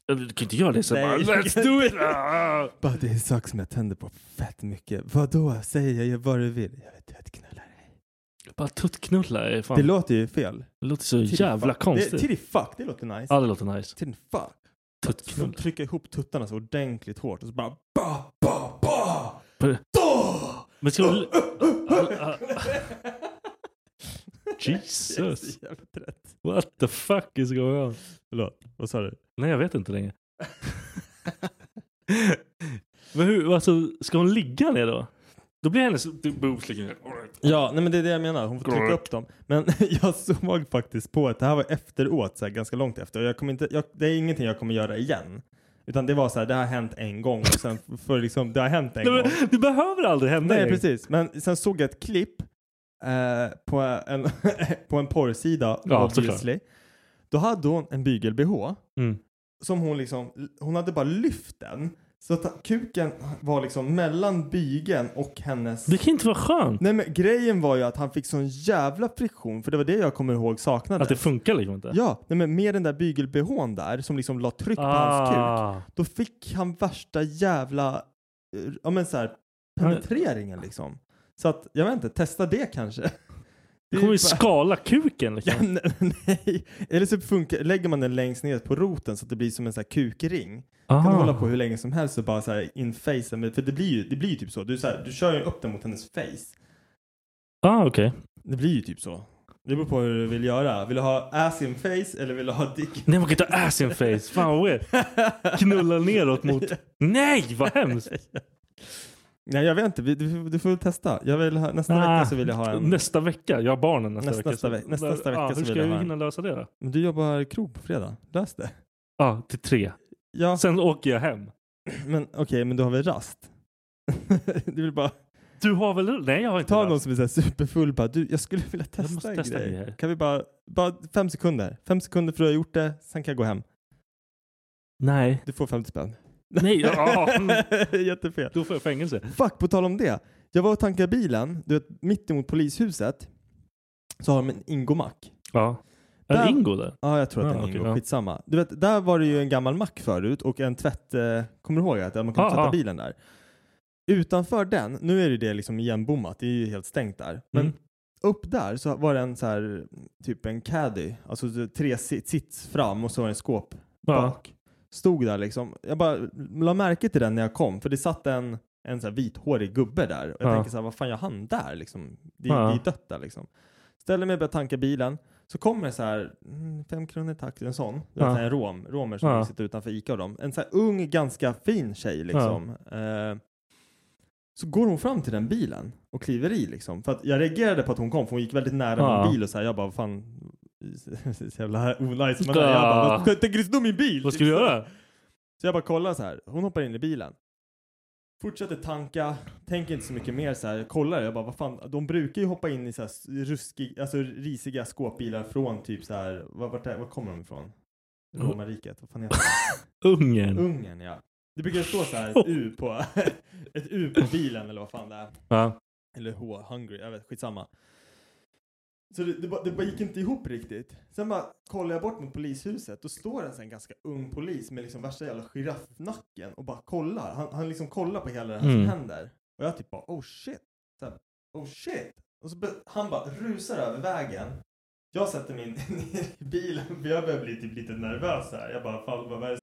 S1: Du kan ju inte göra det så
S4: Nej.
S1: bara Let's
S4: (laughs)
S1: do it! Ah!
S4: Bara det är en sak som jag tänder på fett mycket. Vadå? Säg jag gör vad du vill. Jag vet att knulla dig.
S1: Bara tuttknulla är fan...
S4: Det
S1: Det,
S4: låter ju fel.
S1: låter så
S4: Titty
S1: jävla
S4: fuck. Det,
S1: Ah. konstigt. Ah.
S4: titty fuck, det låter nice.
S1: Ja det låter nice.
S4: Titty fuck. Så de
S1: Tuttknulla.
S4: trycker ihop tuttarna så ordentligt hårt och så bara ba, ba, ba.
S1: På-
S4: Då!
S1: Men
S4: (laughs)
S1: ska du... Jesus.
S4: Jag är så jävla trött.
S1: What the fuck is going on?
S4: Förlåt, vad sa du?
S1: Nej, jag vet
S4: (laughs)
S1: inte längre. Men hur, alltså, ska hon ligga ner då? Då blir hennes boobs liggande.
S4: Ja, nej men det är det jag menar. Hon får trycka upp dem. Men jag såg faktiskt på att det här var efteråt, så här, ganska långt efter. Och jag kommer inte, jag, det är ingenting jag kommer göra igen. Utan det var så här, det har hänt en gång och sen för liksom, det har hänt en
S1: Nej, men
S4: gång.
S1: det behöver aldrig hända.
S4: Nej,
S1: Erik.
S4: precis. Men sen såg jag ett klipp eh, på, en, (laughs) på en porrsida,
S1: Ja,
S4: obviously. Då hade hon en bygel-bh
S1: Mm.
S4: som hon liksom, hon hade bara lyft den. Så att kuken var liksom mellan bygeln och hennes...
S1: Det kan inte vara skönt
S4: Nej men grejen var ju att han fick sån jävla friktion för det var det jag kommer ihåg saknades.
S1: att det funkar liksom inte.
S4: Ja, nej men med den där bygel-bhn där som liksom la tryck på hans kuk.
S1: Ah.
S4: Då fick han värsta jävla, eh, ja men så här, penetreringen liksom. Så att, jag vet inte, testa det kanske. Det
S1: Det
S4: är
S1: kommer ju
S4: bara-
S1: skala kuken
S4: Ja,
S1: liksom.
S4: nej, (laughs) nej. Eller så funkar, lägger man den längst ner på roten så att det blir som en sån här kukring.
S1: Ah.
S4: Kan du hålla på hur länge som helst och bara så här in face med, för det blir ju, det blir ju typ så. Du, så här, du kör ju upp den mot hennes face.
S1: Ah, okej.
S4: Det blir ju typ så. Det beror på hur du vill göra. Vill du ha ass in face eller vill du ha dick?
S1: Nej, man kan inte ha ass in face. Fan vad weird. Knulla neråt mot... Nej, vad hemskt!
S4: Nej jag vet inte, Vi- du, du får väl testa. Jag vill ha, nästa
S1: Ah,
S4: vecka så vill jag ha en.
S1: Nästa vecka. Jag har barnen nästa,
S4: Nästa-
S1: vecka. så-
S4: nästa ve- nästa- nästa vecka
S1: ah,
S4: så
S1: hur ska
S4: vill jag
S1: jag,
S4: ha en.
S1: hinna lösa det då?
S4: Men du jobbar krog på fredag, lös det.
S1: Ja, ah, till tre.
S4: Ja,
S1: Sen åker jag hem.
S4: men okej, men du har väl rast? (laughs) du vill bara
S1: Du har väl... Nej, jag har inte
S4: ta
S1: det.
S4: någon som är så här superfull bara, du, jag skulle vilja testa,
S1: måste
S4: en
S1: testa en
S4: grej.
S1: grej.
S4: Kan vi bara, bara fem sekunder, fem sekunder för att du har gjort det, sen kan jag gå hem.
S1: Nej.
S4: Du får 50 spänn. (laughs)
S1: Nej, ja. mm.
S4: Jättefel.
S1: Då får jag fängelse.
S4: Fuck, på tal om det. Jag var och tankade bilen, du vet, mitt emot polishuset. Så har de en Ingo-mack.
S1: Ja. Är det
S4: Där-
S1: Ingo där?
S4: Ja, jag tror att
S1: Ja,
S4: det är en
S1: okej,
S4: Ingo.
S1: ja.
S4: Skitsamma. Du vet, där var det ju en gammal mack förut och en tvätt... Eh, kommer du ihåg att man kunde
S1: Ja,
S4: tvätta
S1: ja.
S4: bilen där? Utanför den, nu är det ju det liksom igenbommat, det är ju helt stängt där. Men
S1: Mm.
S4: upp där så var det en så här, typ en caddy, alltså tre sit- sits fram och så var det en skåp
S1: Ja.
S4: bak. Stod där liksom. Jag bara la märke till den när jag kom för det satt en, en så här vithårig gubbe där. Och jag
S1: Ja.
S4: tänker så här, vad fan gör han där liksom? Det, är-
S1: Ja.
S4: det är dött där liksom. Ställer mig och börjar tanka bilen. Så kommer det så här, mm, fem kronor tack, en sån. Det var
S1: Ja.
S4: så här en rom, romer som
S1: Ja.
S4: sitter utanför Ica och dem. En så här ung, ganska fin tjej liksom. Eh, så går hon fram till den bilen och kliver i liksom. För att jag reagerade på att hon kom, för hon gick väldigt nära
S1: Ja.
S4: min bil och så här, jag bara, vad fan, (laughs) så jävla onajs man är. Jag bara,
S1: Ja.
S4: vad vad tänker du sno min bil?
S1: Vad ska du göra?
S4: Så jag bara kollar så här, hon hoppar in i bilen. Fortsätter tanka, tänker inte så mycket mer så här, kollar jag bara vad fan, de brukar ju hoppa in i så här ruskig, alltså risiga skåpbilar från typ så här, var, vart är, var kommer de ifrån? Romarriket, vad fan heter det?
S1: Ungern.
S4: Ungern ja. Det brukar stå så här ett U på, ett U på bilen eller vad fan det är.
S1: Ja.
S4: Eller H, Hungry, jag vet, skitsamma. Så det, det, bara, det bara gick inte ihop riktigt. Sen bara kollar jag bort mot polishuset, då står en sån ganska ung polis med liksom värsta jävla giraffnacken och bara kollar. Han, han liksom kollar på hela det här
S1: Mm.
S4: som händer. Och jag typ bara oh shit. Så här, oh shit. Och så bör- han bara rusar över vägen. Jag sätter mig in- (laughs) ner i bilen för jag börjar bli typ lite nervös här. Jag bara fan vad är det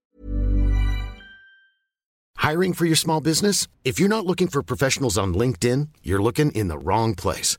S6: Hiring for your small business? If you're not looking for professionals on LinkedIn, you're looking in the wrong place.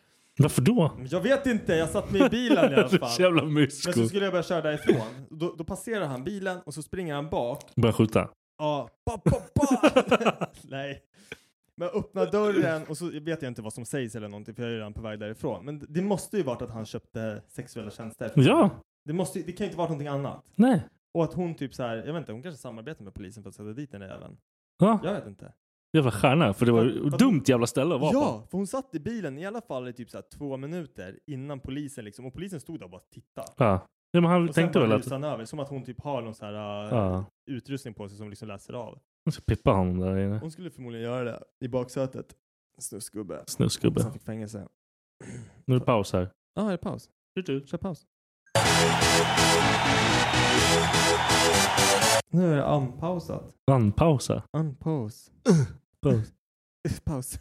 S1: Varför då?
S4: Men jag vet inte, jag satt mig i
S1: (laughs)
S4: bilen i alla
S1: Du är
S4: fall.
S1: så jävla
S4: Men så
S1: mysko.
S4: skulle jag börja köra därifrån. Då, då passerar han bilen och så springer han bak.
S1: Börja skjuta.
S4: Ja, pa, pa, pa. Nej. Men jag öppnar dörren och så vet jag inte vad som sägs eller någonting för jag är ju redan på väg därifrån. Men det måste ju varit att han köpte sexuella tjänster.
S1: (laughs) Ja.
S4: Det, måste, ju- det kan ju inte vara någonting annat.
S1: Nej.
S4: Och att hon typ så här, jag vet inte, hon kanske samarbetar med polisen för att sätta dit den där jäveln.
S1: Ja.
S4: Jag vet inte.
S1: Jävla stjärna. För det var ju
S4: Vad- vad-
S1: dumt jävla ställe att vara på.
S4: Ja, för hon satt i bilen i alla fall i typ så här två minuter innan polisen liksom, och polisen stod där och bara tittade.
S1: Ja. Nej, men han
S4: Och sen
S1: tänkte
S4: bara
S1: väl att...
S4: rusade han över, som att hon typ har någon så här äh,
S1: Ja.
S4: utrustning på sig som liksom läser av.
S1: Hon ska pippa honom där inne.
S4: Hon skulle förmodligen göra det i baksätet. Snusgubbe. Som
S1: Snusgubbe.
S4: fick fängelse. (clears throat)
S1: Nu är det paus här.
S4: Ja, ah, är det paus? Kör paus. Nu är det unpausat.
S1: Anpausa. (clears throat)
S4: Unpause.
S1: Paus.
S4: Paus.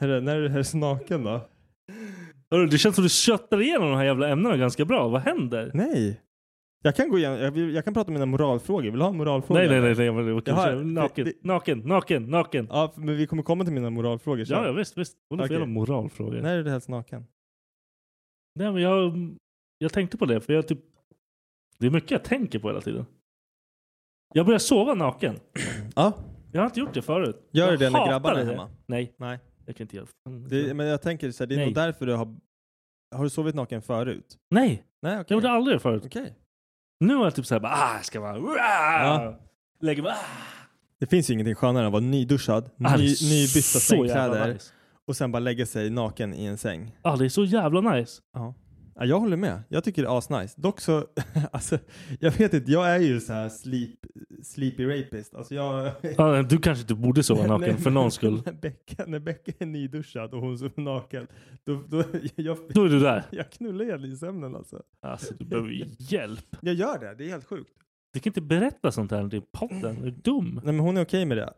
S4: Herre, när är du här snaken då?
S1: Hörru, det känns som du köttar igenom de här jävla ämnena ganska bra. Vad händer?
S4: Nej. Jag kan gå igen. Jag, vill- jag kan prata om mina moralfrågor. Vill du ha en moralfråga?
S1: Nej, nej, nej. nej, nej, okej,
S4: Jag har-
S1: kör. naken,
S4: det-
S1: naken, naken, naken.
S4: Ja, f- men vi kommer komma till mina moralfrågor sen.
S1: Ja, ja visst, visst. Hon har
S4: Okej.
S1: okay. jävla moralfrågor. Nej.
S4: När är du helst naken?
S1: men jag, jag tänkte på det, för jag typ... Det är mycket jag tänker på hela tiden. Jag börjar sova naken.
S4: Ja.
S1: Jag har inte gjort det förut.
S4: Gör du
S1: jag
S4: det när
S1: hatar
S4: grabbarna är
S1: det.
S4: hemma?
S1: Nej,
S4: Nej.
S1: jag kan inte göra fan.
S4: Det, men jag tänker så här, det är
S1: Nej.
S4: nog därför du har... Har du sovit naken förut?
S1: Nej,
S4: Nej,
S1: jag
S4: okej.
S1: gjorde aldrig det förut.
S4: Okej.
S1: Nu är jag typ såhär, bara, ah, jag ska vara...
S4: Ja.
S1: Lägger mig... Ah,
S4: Det finns ju ingenting skönare än att vara nyduschad,
S1: Ah, det
S4: ny,
S1: är så
S4: nybytta
S1: jävla
S4: sängkläder
S1: nice.
S4: och sen bara lägga sig naken i en säng.
S1: Ja, det är så jävla nice.
S4: Ja, jag håller med. Jag tycker det är asnice. Dock så, (laughs) alltså, jag vet inte, jag är ju så här sleep, sleepy rapist. Alltså jag... (laughs)
S1: Ja, du kanske inte borde sova
S4: Nej,
S1: naken för
S4: men-
S1: någons skull.
S4: När Becka, när Becka är nyduschad och hon som är naken, då, då (laughs) jag,
S1: Då är du där.
S4: jag knullar henne i sömnen alltså.
S1: Alltså du behöver
S4: (laughs)
S1: ju hjälp.
S4: Jag gör det, det är helt sjukt.
S1: Du kan inte berätta sånt här i podden. Är du dum?
S4: Nej men hon är okej med det.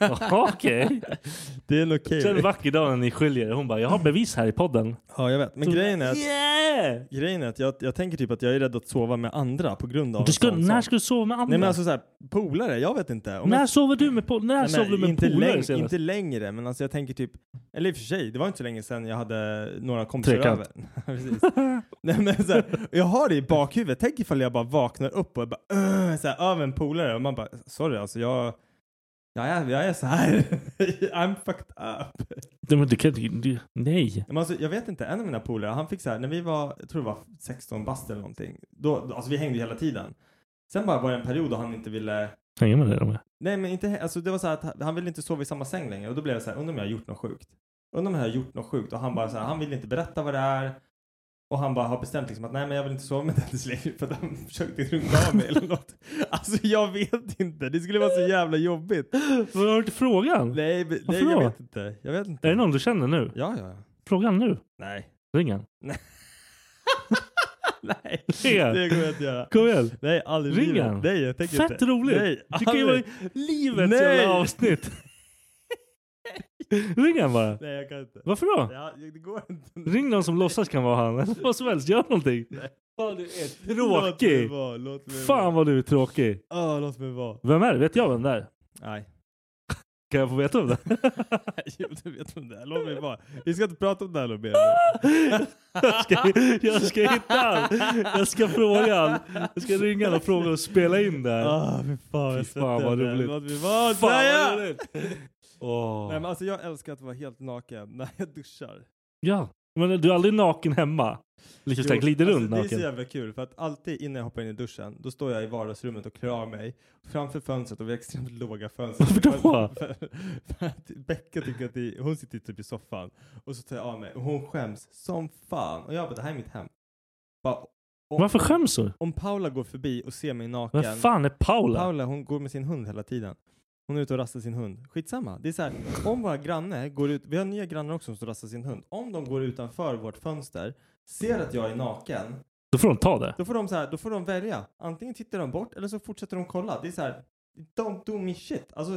S1: Jaha, okej.
S4: (laughs) Det är en okej.
S1: Sen en vacker dag när ni skiljer er, hon bara jag har bevis här i podden.
S4: Ja jag vet, men
S1: Så-
S4: grejen är att,
S1: Yeah!
S4: grejen är att jag, jag tänker typ att jag är rädd att sova med andra på grund av
S1: Du
S4: en
S1: ska,
S4: sån
S1: när
S4: sak.
S1: ska du sova med andra?
S4: Nej men alltså såhär, polare, jag vet inte. Om
S1: när
S4: jag,
S1: sover du med, po- när
S4: Nej,
S1: sover du med
S4: inte,
S1: polare
S4: läng-
S1: senast?
S4: inte längre, men alltså jag tänker typ, eller i och för sig, det var inte så länge sedan jag hade några kompisar
S1: Trekant.
S4: över. (laughs) Precis. Nej, men så här, jag har det i bakhuvudet, tänk ifall jag bara vaknar upp och jag bara "Ugh", så här, över en polare och man bara sorry alltså jag, jag är, jag är så här. (laughs) I'm fucked up.
S1: Nej, men du kan inte... du- Nej.
S4: Men alltså, jag vet inte, en av mina polare, han fick så här, när vi var, jag tror det var 16 bast eller någonting, då, då- alltså vi hängde hela tiden. Sen bara var det en period då han inte ville
S1: Hänger med dig de här.
S4: Nej men inte, he- alltså det var så här att han- han ville inte sova i samma säng längre och då blev jag så här, undrar om jag har gjort något sjukt. Undrar om jag har gjort något sjukt och han bara så här, han vill inte berätta vad det är. Och han bara har bestämt liksom att nej men jag vill inte sova med Dennis längre för att han (laughs) försökte runka av mig eller något. Alltså jag vet inte, det skulle vara så jävla jobbigt.
S1: Vad har du till frågan?
S4: Nej, men- nej
S1: Varför
S4: jag
S1: då?
S4: vet inte. Jag vet inte.
S1: Är det någon du känner nu?
S4: Ja, ja, ja.
S1: Fråga han nu.
S4: Nej. (laughs)
S1: Ring han. (laughs)
S4: nej,
S1: Ja.
S4: det kommer jag inte göra.
S1: Kom igen.
S4: Nej, aldrig i
S1: Ring
S4: livet.
S1: han.
S4: Nej, jag tänker
S1: Fett
S4: inte.
S1: roligt.
S4: Nej,
S1: Det kan ju vara
S4: aldrig.
S1: livets
S4: Nej.
S1: jävla avsnitt. (laughs) Ring han bara.
S4: Nej, jag kan inte.
S1: Varför då?
S4: Ja, det går inte.
S1: Ring någon som låtsas kan vara han. (laughs) Eller Vad som helst, gör någonting. Fan du är tråkig.
S4: vara, låt mig
S1: Fan vad du är tråkig.
S4: Ja, låt mig vara.
S1: Vem är det? Vet jag vem det är?
S4: Nej.
S1: (laughs) Kan jag få veta om det?
S4: (laughs) Jo, du vet om det är. Låt mig vara. Vi ska inte prata om det här något mer.
S1: (laughs) Jag ska, jag ska hitta han. Jag ska fråga han. Jag ska ringa han och fråga och spela in det här.
S4: Ah, fy fan. jag
S1: Fy fan,
S4: sätter den
S1: vad
S4: där.
S1: roligt.
S4: Låt mig vara.
S1: Fan
S4: säger
S1: vad
S4: jag. (laughs)
S1: roligt. Åh.
S4: Nej, men alltså jag älskar att vara helt naken när jag duschar.
S1: Ja, men du är aldrig naken hemma? Liksom såhär
S4: Jo,
S1: glider
S4: alltså,
S1: runt
S4: Det är så
S1: naken?
S4: jävla kul för att alltid innan jag hoppar in i duschen då står jag i vardagsrummet och klär av mig (laughs) framför fönstret och vi har extremt låga fönster.
S1: Varför då?
S4: För, för att Becka tycker att det, hon sitter typ i soffan och så tar jag av mig och hon skäms som fan och jag bara det här är mitt hem. Bara, om,
S1: Varför skäms du?
S4: Om Paula går förbi och ser mig naken.
S1: Vem fan är Paula?
S4: Paula hon går med sin hund hela tiden. Hon är ute och rastar sin hund. Skitsamma. Det är så här, om våra grannar går ut, vi har nya grannar också som rastar sin hund. Om de går utanför vårt fönster, ser att jag är naken,
S1: Då får de ta det.
S4: då får de, så här, då får de välja. Antingen tittar de bort eller så fortsätter de kolla. Det är så här, don't do me shit. Alltså,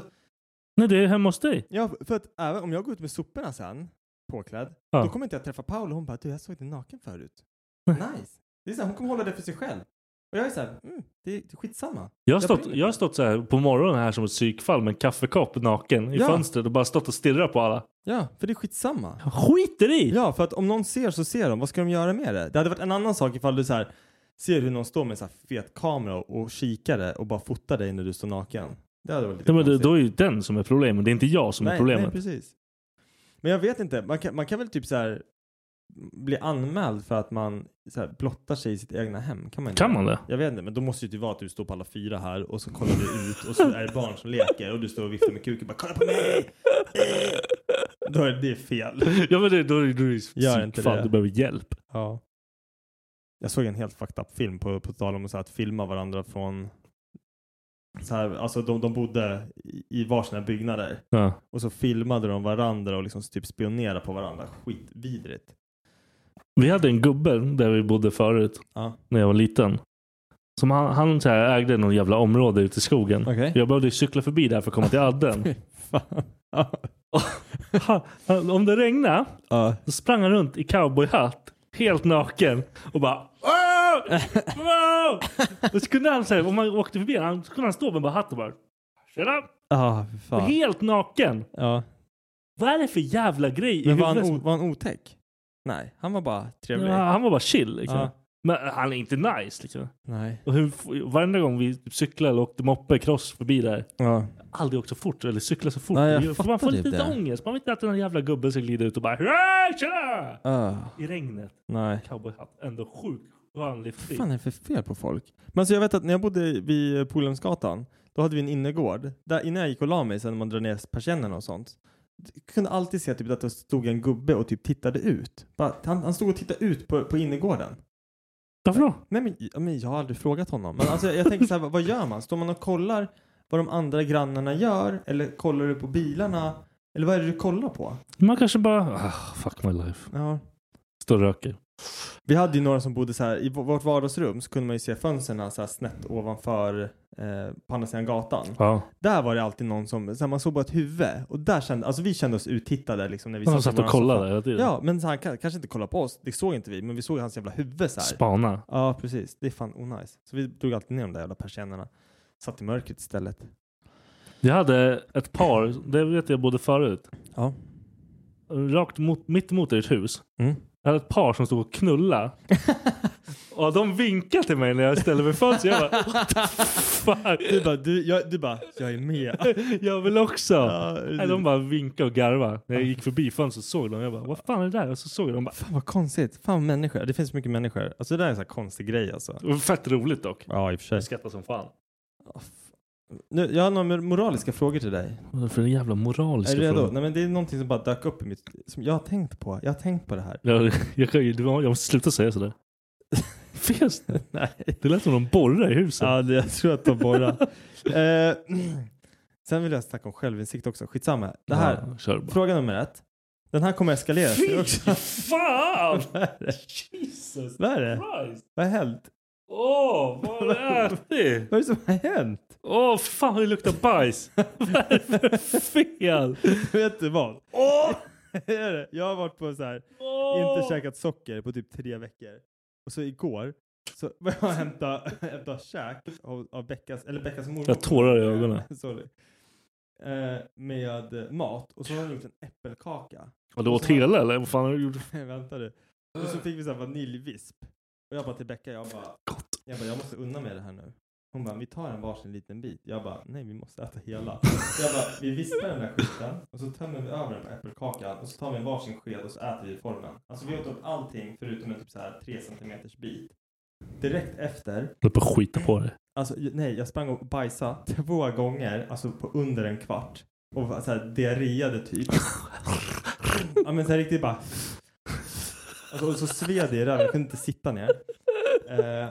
S1: Nej, det är hemma hos dig.
S4: ja, för att även om jag går ut med soporna sen, påklädd,
S1: Ja.
S4: då kommer inte jag träffa Paula. Hon bara, du jag såg dig naken förut. Nice. Det är så här, hon kommer hålla det för sig själv. Och jag är så här, mm, det är det är skitsamma.
S1: Jag har stått,
S4: bryr mig
S1: jag har
S4: inte.
S1: stått så här på morgonen här som ett psykfall med en kaffekopp naken i
S4: Ja.
S1: fönstret och bara stått och stirrat på alla.
S4: Ja, för det är skitsamma.
S1: Jag Skiter i!
S4: Ja, för att om någon ser så ser de. Vad ska de göra med det? Det hade varit en annan sak ifall du så här, ser hur någon står med en så här fet kamera och kikare och bara fotar dig när du står naken. Det hade varit lite
S1: Nej, men det,
S4: konstigt.
S1: då är ju den som är problemet, det är inte jag som är
S4: nej,
S1: problemet.
S4: Nej, precis. Men jag vet inte. Man kan, man kan väl typ så här bli anmäld för att man så här, blottar sig i sitt egna hem? Kan man inte?
S1: Kan man det?
S4: Jag vet inte, men då måste det ju typ vara att du står på alla fyra här och så kollar du ut och så är det barn som leker och du står och viftar med kuken och bara kolla på mig! Eh! Då är det fel.
S1: Ja men det, då är det ju
S4: Gör inte
S1: psykfall,
S4: det.
S1: du behöver hjälp.
S4: Ja. Jag såg en helt fucked up film på, på tal om så här att filma varandra från så här, alltså de, de bodde i, i varsina byggnader
S1: Ja.
S4: Typ. och så filmade de varandra och liksom typ spionerade på varandra. Skitvidrigt.
S1: Vi hade en gubbe där vi bodde förut
S4: Ja.
S1: när jag var liten. Som han, han så här ägde någon jävla område ute i skogen.
S4: Okej.
S1: Jag behövde ju cykla förbi där för att komma
S4: (laughs)
S1: till adden.
S4: Fan. Ja.
S1: Han- han- Om det regnade
S4: Ja.
S1: så sprang han runt i cowboyhatt. Helt naken. Och bara
S4: (laughs)
S1: "Åh! Åh!" Och så kunde han så här, om man åkte förbi han, så kunde han stå med bara hatt och bara Tjena!
S4: Ja, fy fan.
S1: Helt naken.
S4: Ja.
S1: Vad är det för jävla grej i
S4: Men var han,
S1: huvudet?
S4: o, var han otäck? Nej, han var bara trevlig.
S1: ja, han var bara chill liksom.
S4: Ja.
S1: Men han är inte nice liksom.
S4: Nej.
S1: Och hur, varenda gång vi typ cyklade eller åkte moppe, cross förbi där.
S4: Ja.
S1: aldrig åkt så fort eller cyklat så fort.
S4: Nej, jag
S1: Det gör- för
S4: fattar
S1: man får
S4: typ
S1: lite
S4: det.
S1: ångest. Man vill inte att den där jävla gubben ska glida ut och bara "Hurra, Tjena!
S4: Ah,
S1: I regnet.
S4: nej.
S1: Cowboyhatt. Ändå sjukt skön livsstil.
S4: Vad fan är det för fel på folk? Men alltså jag vet att när jag bodde vid Polhemsgatan, då hade vi en innergård. Där innan jag gick och la mig, sen när man drar ner persiennerna och sånt, jag kunde alltid se typ att det stod en gubbe och typ tittade ut. Bara, han, han stod och tittade ut på, på innergården.
S1: Varför då?
S4: Nej men, ja, men jag har aldrig frågat honom. Men alltså jag, jag tänker så här, vad, vad gör man? Står man och kollar vad de andra grannarna gör? Eller kollar du på bilarna? Eller vad är det du kollar på?
S1: Man kanske bara ah, fuck my life.
S4: Ja.
S1: Står och röker.
S4: Vi hade ju några som bodde så här, i v- vårt vardagsrum så kunde man ju se fönstren så här snett ovanför eh, på andra sidan gatan.
S1: Ja.
S4: Där var det alltid någon som, så här, man såg bara ett huvud och där kände, alltså vi kände oss uttittade liksom när vi
S1: De
S4: i
S1: satt och
S4: våran
S1: kollade
S4: soffa.
S1: hela tiden.
S4: Ja, men så han kan- kanske inte kollade på oss, det såg inte vi, men vi såg hans jävla huvud så här.
S1: Spana.
S4: Ja, precis. Det är fan onajs. Så vi drog alltid ner de där jävla persiennerna. Satt i mörkret istället.
S1: Jag hade ett par, det vet jag både förut.
S4: Ja.
S1: Rakt mot, mitt emot ert hus.
S4: Mm.
S1: Jag hade ett par som stod
S4: (laughs)
S1: och knulla. och de vinkade till mig när jag ställde mig i fönstret. Jag bara what the
S4: Du
S1: fuck.
S4: bara, du, jag, du bara, jag är med.
S1: (laughs) Jag vill också.
S4: Ja,
S1: Nej, de bara vinkade och garvade. När jag gick förbi fönstret såg de. Jag bara, vad fan är det där? Och så såg de. bara,
S4: Fan vad konstigt. Fan vad människor. Det finns så mycket människor. Alltså det där är en sån här konstig grej alltså.
S1: Det var Fett roligt dock.
S4: Ja, i och för sig.
S1: Jag skrattade som fan.
S4: Nu, jag har några moraliska frågor till dig.
S1: Vad är det för jävla moraliska
S4: Är du redo?
S1: frågor?
S4: Nej men det är någonting som bara dök upp i mitt... Som jag har tänkt på. Jag har tänkt på det här.
S1: Jag, jag, kan ju- det (laughs) var- jag måste sluta
S4: (laughs)
S1: säga sådär. Fes det? Det lät som de borrar i huset.
S4: Ja, det, jag tror att de borrar. eh, sen vill jag snacka om självinsikt också. Skitsamma. Det här.
S1: Ja, kör bara.
S4: Fråga nummer ett. Den här kommer eskalera.
S1: Fy
S4: också.
S1: (laughs) fan!
S4: (laughs) Vad är det?
S1: Jesus
S4: Vad är det?
S1: Christ!
S4: Vad har hänt?
S1: Åh, vad har du ätit?
S4: Vad är det som har hänt?
S1: Åh, fan det luktar
S4: (laughs)
S1: bajs! Vad är det för fel?
S4: Vet du vad?
S1: Åh!
S4: Är (laughs) det? Jag har varit på så här,
S1: Åh!
S4: inte käkat socker på typ tre veckor. Och så igår så var jag och hämtade, hämtade käk av, av Beckas, eller Beckas mormor.
S1: Jag har tårar i ögonen.
S4: (laughs) Sorry. Eh, med eh, mat. Och så har hon gjort en äppelkaka.
S1: Och du åt hela eller? Vad fan har du gjort?
S4: Vänta du. Och så fick vi så här vaniljvisp. Och jag bara till Becka, jag bara,
S1: Gott.
S4: jag bara, jag måste unna mig det här nu. Hon bara, vi tar en varsin liten bit. Jag bara, nej vi måste äta hela. Så jag bara, vi vispar den där skiten och så tömmer vi över den på äppelkakan och så tar vi en varsin sked och så äter vi formen. Alltså vi åt upp allting förutom en typ så här 3 centimeters bit. Direkt efter,
S1: Jag höll på att skita på dig.
S4: alltså j- nej jag sprang och bajsade två gånger, alltså på under en kvart. Och var så här diarréade typ. Ja men så här riktigt bara. Alltså, och så sved det i röven, jag kunde inte sitta ner. Eh,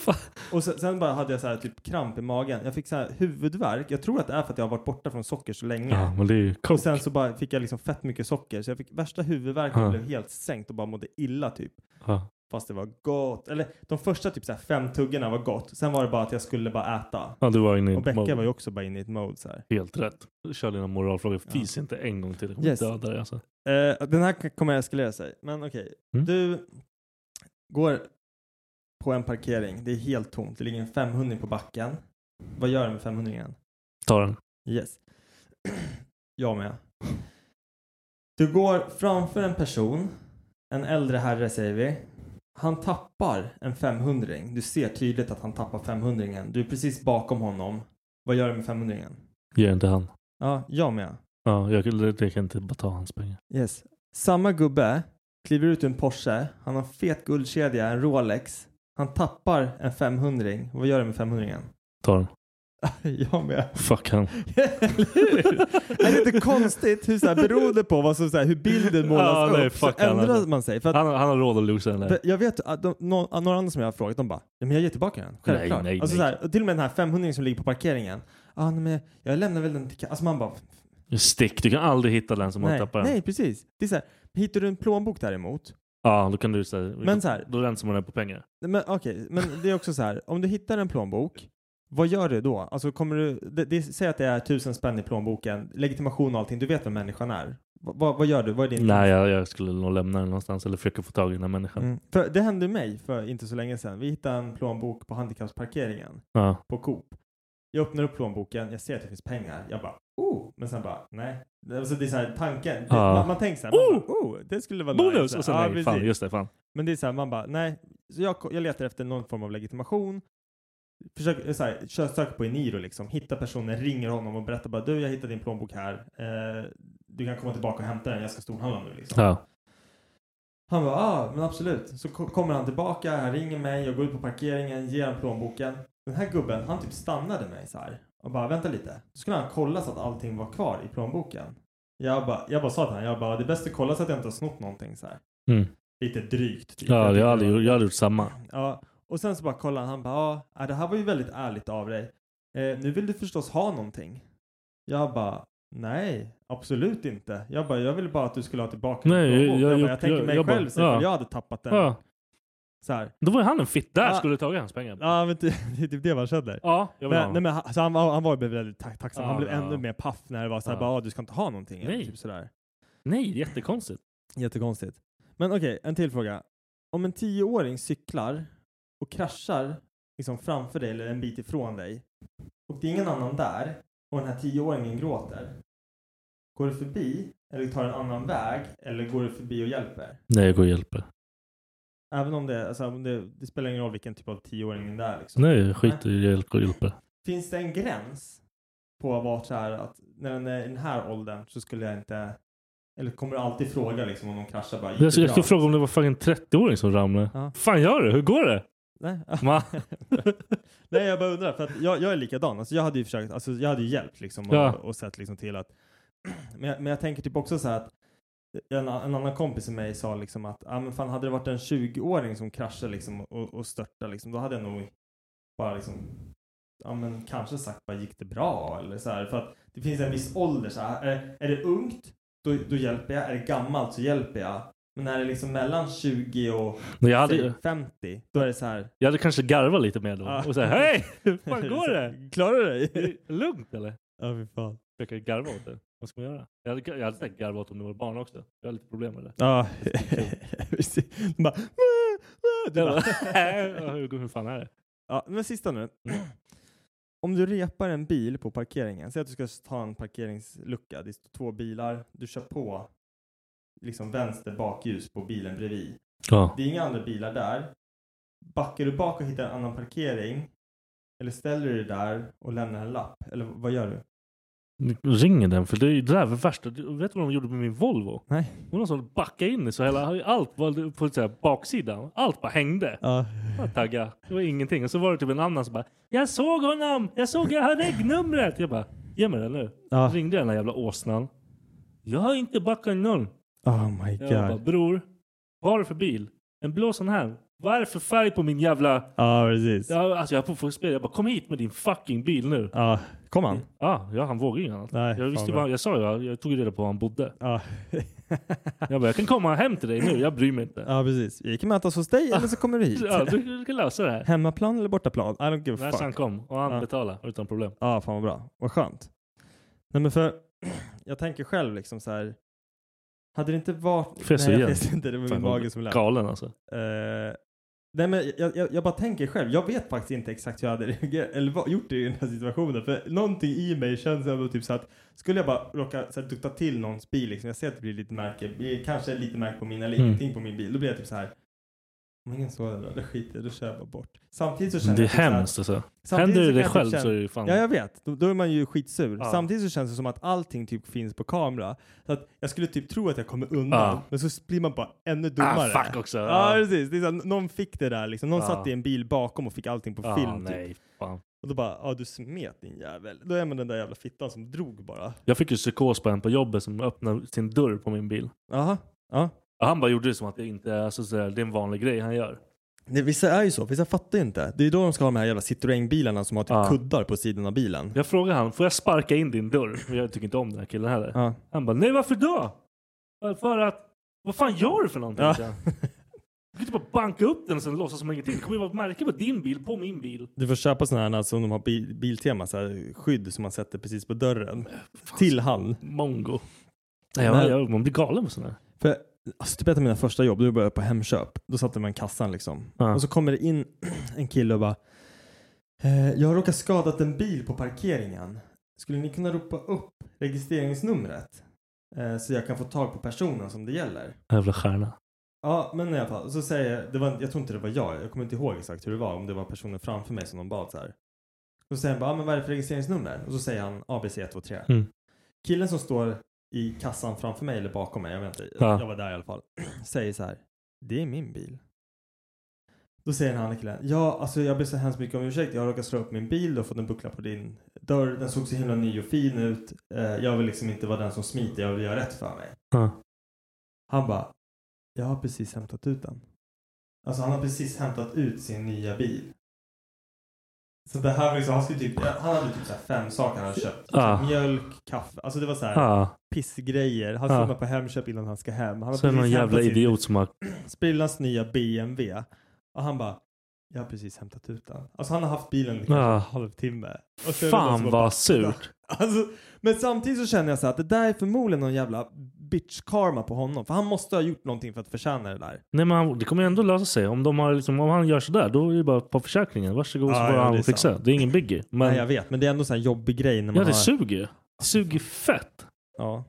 S1: Fan.
S4: och sen, sen bara hade jag så här typ kramp i magen. Jag fick så här huvudvärk. Jag tror att det är för att jag har varit borta från socker så länge.
S1: Ja, men det är ju
S4: Och
S1: kock.
S4: sen så bara fick jag liksom fett mycket socker så jag fick värsta huvudvärken
S1: Ja.
S4: och blev helt sänkt och bara mådde illa typ.
S1: Ja.
S4: Fast det var gott. Eller de första typ så här fem tuggorna var gott. Sen var det bara att jag skulle bara äta.
S1: ja, du var inne i
S4: Och
S1: ett
S4: Becka
S1: mode.
S4: var ju också bara inne i ett mode så här.
S1: Helt rätt. Kör dina moralfrågor.
S4: Ja.
S1: Fis inte en gång till. Jag kommer
S4: Yes.
S1: döda dig alltså.
S4: Eh, den här kommer jag eskalera sig. Men okej.
S1: Mm.
S4: Du går på en parkering. Det är helt tomt. Det ligger en 500 på backen. Vad gör du med 500
S1: Ta den.
S4: Yes. (clears throat) Jag med. Du går framför en person. En äldre herre säger vi. Han tappar en 500 Du ser tydligt att han tappar 500 Du är precis bakom honom. Vad gör du med 500
S1: Ge inte han.
S4: Ja, jag med.
S1: Ja, jag, det, det kan inte bara ta hans pengar.
S4: Yes. Samma gubbe kliver ut ur en Porsche. Han har fet guldkedja, en Rolex. Han tappar en 500 Vad gör du med 500
S1: Ta den.
S4: (laughs) Jag med.
S1: Fuck
S4: (laughs)
S1: han.
S4: är det inte konstigt hur så här, beroende på vad som, så här, hur bilden målas
S1: Ja, nej,
S4: upp så
S1: fuck han,
S4: ändrar
S1: alltså.
S4: man sig. För att,
S1: Han, han har råd att losa den där.
S4: för jag vet att de, nå- att några andra som jag har frågat, de bara ja, men jag ger tillbaka den. Självklart.
S1: nej,
S4: alltså,
S1: nej.
S4: Så här, och till och med den här 500 som ligger på parkeringen. Ah, nej, men jag lämnar väl den till ka-" Alltså man bara
S1: Stick, du kan aldrig hitta den som har
S4: nej,
S1: tappat den.
S4: nej precis. Det är så här, hittar du en plånbok däremot.
S1: Ja, då kan du säga. Men
S4: Men så här,
S1: Då rensar man den på pengar.
S4: Nej, Men okej, men det är också så här. Om du hittar en plånbok, vad gör du då? Alltså kommer du, det, det, säg att det är tusen spänn i plånboken, legitimation och allting, du vet vem människan är. Va, va, vad gör du? Vad är din...
S1: Nej, jag, jag skulle nog lämna den någonstans eller försöka få tag i den här människan.
S4: Mm. För det hände mig för inte så länge sedan. Vi hittade en plånbok på handikappsparkeringen
S1: Ja.
S4: på Coop. Jag öppnar upp plånboken, jag ser att det finns pengar. Jag bara oh, men sen bara nej. Det- Alltså det är så här tanken. Det,
S1: Ja.
S4: man, man tänker så här, man
S1: Oh!
S4: bara, oh, det skulle vara
S1: Bonus!
S4: nice.
S1: Och sen
S4: Ja,
S1: nej,
S4: precis.
S1: fan, just det, fan.
S4: Men det är så här, man bara, nej. Så jag, jag letar efter någon form av legitimation. Försöker, så här, kör- söker på Eniro liksom. Hittar personen, ringer honom och berättar bara du, jag hittade din plånbok här. Eh, du kan komma tillbaka och hämta den, jag ska storhandla nu liksom.
S1: Ja.
S4: Han bara, ah, men absolut. Så ko- kommer han tillbaka, han ringer mig, jag går ut på parkeringen, ger han plånboken. Den här gubben, han typ stannade mig så här och bara, vänta lite. Då skulle han kolla så att allting var kvar i plånboken. Jag bara, jag bara sa till honom, jag bara, det är bäst att kolla så att jag inte har snott någonting så här.
S1: Mm.
S4: Lite drygt. Typ. tyckte
S1: Ja, jag har
S4: det var-
S1: aldrig, jag har aldrig gjort samma.
S4: Ja, och sen så bara kollar han, han bara, ja, det här var ju väldigt ärligt av dig. Eh, nu vill du förstås ha någonting. Jag bara, nej, absolut inte. Jag bara, jag ville bara att du skulle ha tillbaka din
S1: Nej, jag-
S4: plånbok." jag,
S1: jag
S4: bara,
S1: gjort-
S4: jag tänker
S1: jag-
S4: mig
S1: jag bara,
S4: själv så ifall
S1: ja.
S4: jag hade tappat den.
S1: Ja.
S4: Så här.
S1: Då var ju han en fitt. Där
S4: Ja.
S1: skulle du tagit hans pengar. Ja,
S4: Ja, men ty- (laughs) det är typ det man känner.
S1: jag vill ha
S4: Men, nej,
S1: honom.
S4: men, han- så han, var- han var ju väldigt ta- tacksam. han
S1: Ja,
S4: blev
S1: ja.
S4: ännu mer paff när det var så här,
S1: Ja.
S4: bara, "Ah, du ska inte ha någonting. eller
S1: Nej.
S4: Typ sådär.
S1: Nej, det är jättekonstigt.
S4: Jättekonstigt. Men okej, en till fråga. Om en tioåring cyklar och kraschar liksom framför dig eller en bit ifrån dig och det är ingen annan där och den här tioåringen gråter. Går du förbi eller tar en annan väg eller går du förbi och hjälper?
S1: Nej, jag går och hjälper.
S4: Även om det, alltså, om det, det spelar ingen roll vilken typ av tioåring det är. Liksom.
S1: Nej, jag skiter i det. Jag går och hjälper.
S4: Finns det en gräns på vart så här att när den är i den här åldern så skulle jag inte eller kommer du alltid fråga liksom om de kraschar bara? gick det
S1: Jag skulle, jag
S4: bra?
S1: skulle fråga om det var fucking 30-åring som ramlade.
S4: Ja.
S1: Fan gör du? Hur går det?
S4: Nej.
S1: Ma-
S4: (laughs) Nej, jag bara undrar. För att jag, jag är likadan. Alltså, jag hade ju försökt, alltså, jag hade ju hjälpt liksom, och,
S1: Ja.
S4: och sett liksom, till att... men, jag, men jag tänker typ också så här att en, en annan kompis till mig sa liksom att ah, men fan, hade det varit en 20-åring som kraschade liksom, och, och störtade liksom, då hade jag nog bara liksom ja, men kanske sagt bara gick det bra eller så här. För att det finns en viss ålder så här. Är, är det ungt då, då hjälper jag. Är det gammalt så hjälper jag. Men när det är liksom mellan 20 och
S1: Men jag, hade,
S4: säg, 50 då är det så här.
S1: jag hade kanske garvat lite mer då.
S4: Ja.
S1: Och säga hej! Hur (laughs) fan går det?
S4: Klarar du dig?
S1: Är det lugnt eller?
S4: Ja, fy fan.
S1: Försöka garva åt det. Vad ska man göra? Jag hade, jag hade säkert garvat åt om det var barn också. Jag har lite problem med det.
S4: Ja, (laughs) precis. De bara... "Mä, mä", Du
S1: Jag
S4: (laughs)
S1: bara,
S4: bara.
S1: "Hä? hur, hur fan är det? Mm.
S4: Ja, men sista nu. Om du repar en bil på parkeringen, säg att du ska ta en parkeringslucka, det står två bilar, du kör på liksom vänster bakljus på bilen bredvid.
S1: Ja.
S4: Det är inga andra bilar där. Backar du bak och hittar en annan parkering eller ställer du dig där och lämnar en lapp? Eller vad gör du?
S1: Ringer den? För det är ju det där var värsta. Du- Vet du vad de gjorde med min Volvo?
S4: Nej.
S1: Hon var som backade in i så hela, allt var på så här baksidan. Allt bara hängde.
S4: Ja.
S1: Jag taggade. Det var ingenting. Och så var det typ en annan som bara Jag såg honom! Jag såg, jag har regnumret! Jag bara Ge mig det nu.
S4: Ja.
S1: Ringde den här jävla åsnan. Jag har inte backat någon.
S4: Oh my
S1: Jag bara
S4: god.
S1: Bror, vad har du för bil? En blå sån här. Vad är det för färg på min jävla...
S4: Ja, precis.
S1: Jag, alltså jag är på fotbollsspel. Jag bara kom hit med din fucking bil nu.
S4: Ja, kom han?
S1: Ja, ja han vågade ju inget annat.
S4: Nej,
S1: jag,
S4: fan
S1: visste ju
S4: bra.
S1: bara, jag sa ju, jag- jag tog ju reda på var han bodde.
S4: Ja.
S1: Jag bara, jag kan komma hem till dig nu, jag bryr mig inte.
S4: ja, precis. Vi kan mötas hos dig eller så kommer du hit.
S1: (laughs) Ja, du, du kan lösa det här.
S4: Hemmaplan eller bortaplan? I don't give a
S1: När han
S4: fuck.
S1: kom och han
S4: Ja.
S1: betalade utan problem.
S4: Ja, fan vad bra. Vad skönt. Nej, men för (clears throat) jag tänker själv liksom så här. Hade det inte varit...
S1: Får jag
S4: Nej,
S1: suga?
S4: jag vet inte. Det var
S1: Fan,
S4: min mage som lät.
S1: Galen alltså.
S4: Eh, nej, men jag, jag, jag bara tänker själv. Jag vet faktiskt inte exakt hur jag hade reagerat, eller vad, gjort det i den här situationen. För någonting i mig känns ändå typ så att skulle jag bara råka så här, dutta till någons bil, liksom, jag ser att det blir lite märke, blir kanske lite märke på min eller
S1: Mm.
S4: ingenting på min bil, då blir jag typ så här. Om ingen såg det, då skiter jag då kör jag bara bort. Samtidigt så känner
S1: Det är
S4: jag typ så här-
S1: hemskt alltså.
S4: samtidigt så
S1: Händer
S4: kan
S1: det dig
S4: jag typ
S1: själv
S4: känna-
S1: så är det ju fan...
S4: Ja, jag vet. Då, då är man ju skitsur.
S1: Ja.
S4: Samtidigt så känns det som att allting typ finns på kamera. Så att jag skulle typ tro att jag kommer undan,
S1: Ja.
S4: men så blir man bara ännu dummare.
S1: Ah, fuck också.
S4: Ja,
S1: Ja.
S4: precis. Det är så här, någon fick det där liksom. Någon
S1: Ja.
S4: satt i en bil bakom och fick allting på
S1: Ja,
S4: film. Typ.
S1: nej, fan. Och då bara, ja du smet din jävel. Då är man den där jävla fittan som drog bara.
S4: Jag fick ju psykos på en på jobbet som öppnade sin dörr på min bil.
S1: Jaha. Ja.
S4: Och han bara gjorde det som att det inte är, alltså, sådär, det är en vanlig grej han gör.
S1: Nej, vissa är ju så, vissa fattar ju inte. Det är då de ska ha de här jävla Citroën-bilarna som har typ
S4: Ja.
S1: kuddar på sidan av bilen.
S4: Jag frågade han, får jag sparka in din dörr? För Jag tycker inte om den här killen heller.
S1: Ja.
S4: Han bara, nej varför då? "Bara För att, vad fan gör du för någonting?
S1: Ja.
S4: sa jag. Du kan inte bara banka upp den och sen låtsas som ingenting. Det kommer ju vara ett märke på din bil, på min bil.
S1: Du får köpa sådana här som de har bil, Biltema, så här skydd som man sätter precis på dörren. Till han.
S4: Mongo. Nej,
S1: Nej.
S4: jag, jag, man blir galen med sådana här.
S1: För alltså, typ ett av mina första jobb, då jobbade jag på Hemköp. Då satte man kassan liksom.
S4: Ja.
S1: Och så kommer det in (clears throat) en kille och bara eh, Jag har råkat skadat en bil på parkeringen. Skulle ni kunna ropa upp registreringsnumret? Eh, så jag kan få tag på personen som det gäller.
S4: Jävla stjärna.
S1: Ja, men i alla fall. Så säger jag, det var, jag tror inte det var jag. Jag kommer inte ihåg exakt hur det var. Om det var personen framför mig som de bad så här. Och så säger han bara, ah, men vad är det för registreringsnummer? Och så säger han ABC123.
S4: Mm.
S1: Killen som står i kassan framför mig eller bakom mig, jag vet inte.
S4: Ja.
S1: Jag var där i alla fall. säger så här, det är min bil. Då säger den andra killen, ja alltså jag ber så hemskt mycket om ursäkt. Jag har råkat slå upp min bil och fått en buckla på din dörr. Den såg så himla ny och fin ut. Eh, jag vill liksom inte vara den som smiter. Jag vill göra rätt för mig.
S4: Ja.
S1: Han bara, jag har precis hämtat ut den. Alltså han har precis hämtat ut sin nya bil. Så det här var liksom, han skulle typ, han hade typ så här fem saker han hade köpt.
S4: Ah.
S1: Typ Mjölk, kaffe, alltså det var så här
S4: Ja,
S1: pissgrejer. Han
S4: Ah.
S1: filmar på Hemköp innan han ska hem. Han har
S4: så är det någon
S1: precis
S4: jävla
S1: hämtat
S4: idiot som har...
S1: Sin, sprillans nya BMW. Och han bara, jag har precis hämtat ut den. Alltså han har haft bilen i kanske
S4: Ah.
S1: en halvtimme. Och så är det någon som
S4: Fan
S1: har
S4: vad
S1: bara-
S4: surt.
S1: Alltså, men samtidigt så känner jag så här att det där är förmodligen någon jävla bitch-karma på honom. För han måste ha gjort någonting för att förtjäna det där.
S4: Nej men han, det kommer ju ändå lösa sig. Om, de har, liksom, om han gör sådär, då är det bara på försäkringen. Varsågod så
S1: Ja,
S4: får
S1: ja, det är
S4: han fixa.
S1: sant.
S4: Det är ingen biggie. Men,
S1: Nej, jag vet, men det är ändå så här jobbig grej när man
S4: ja det
S1: har...
S4: suger ju. Det suger fett.
S1: Ja.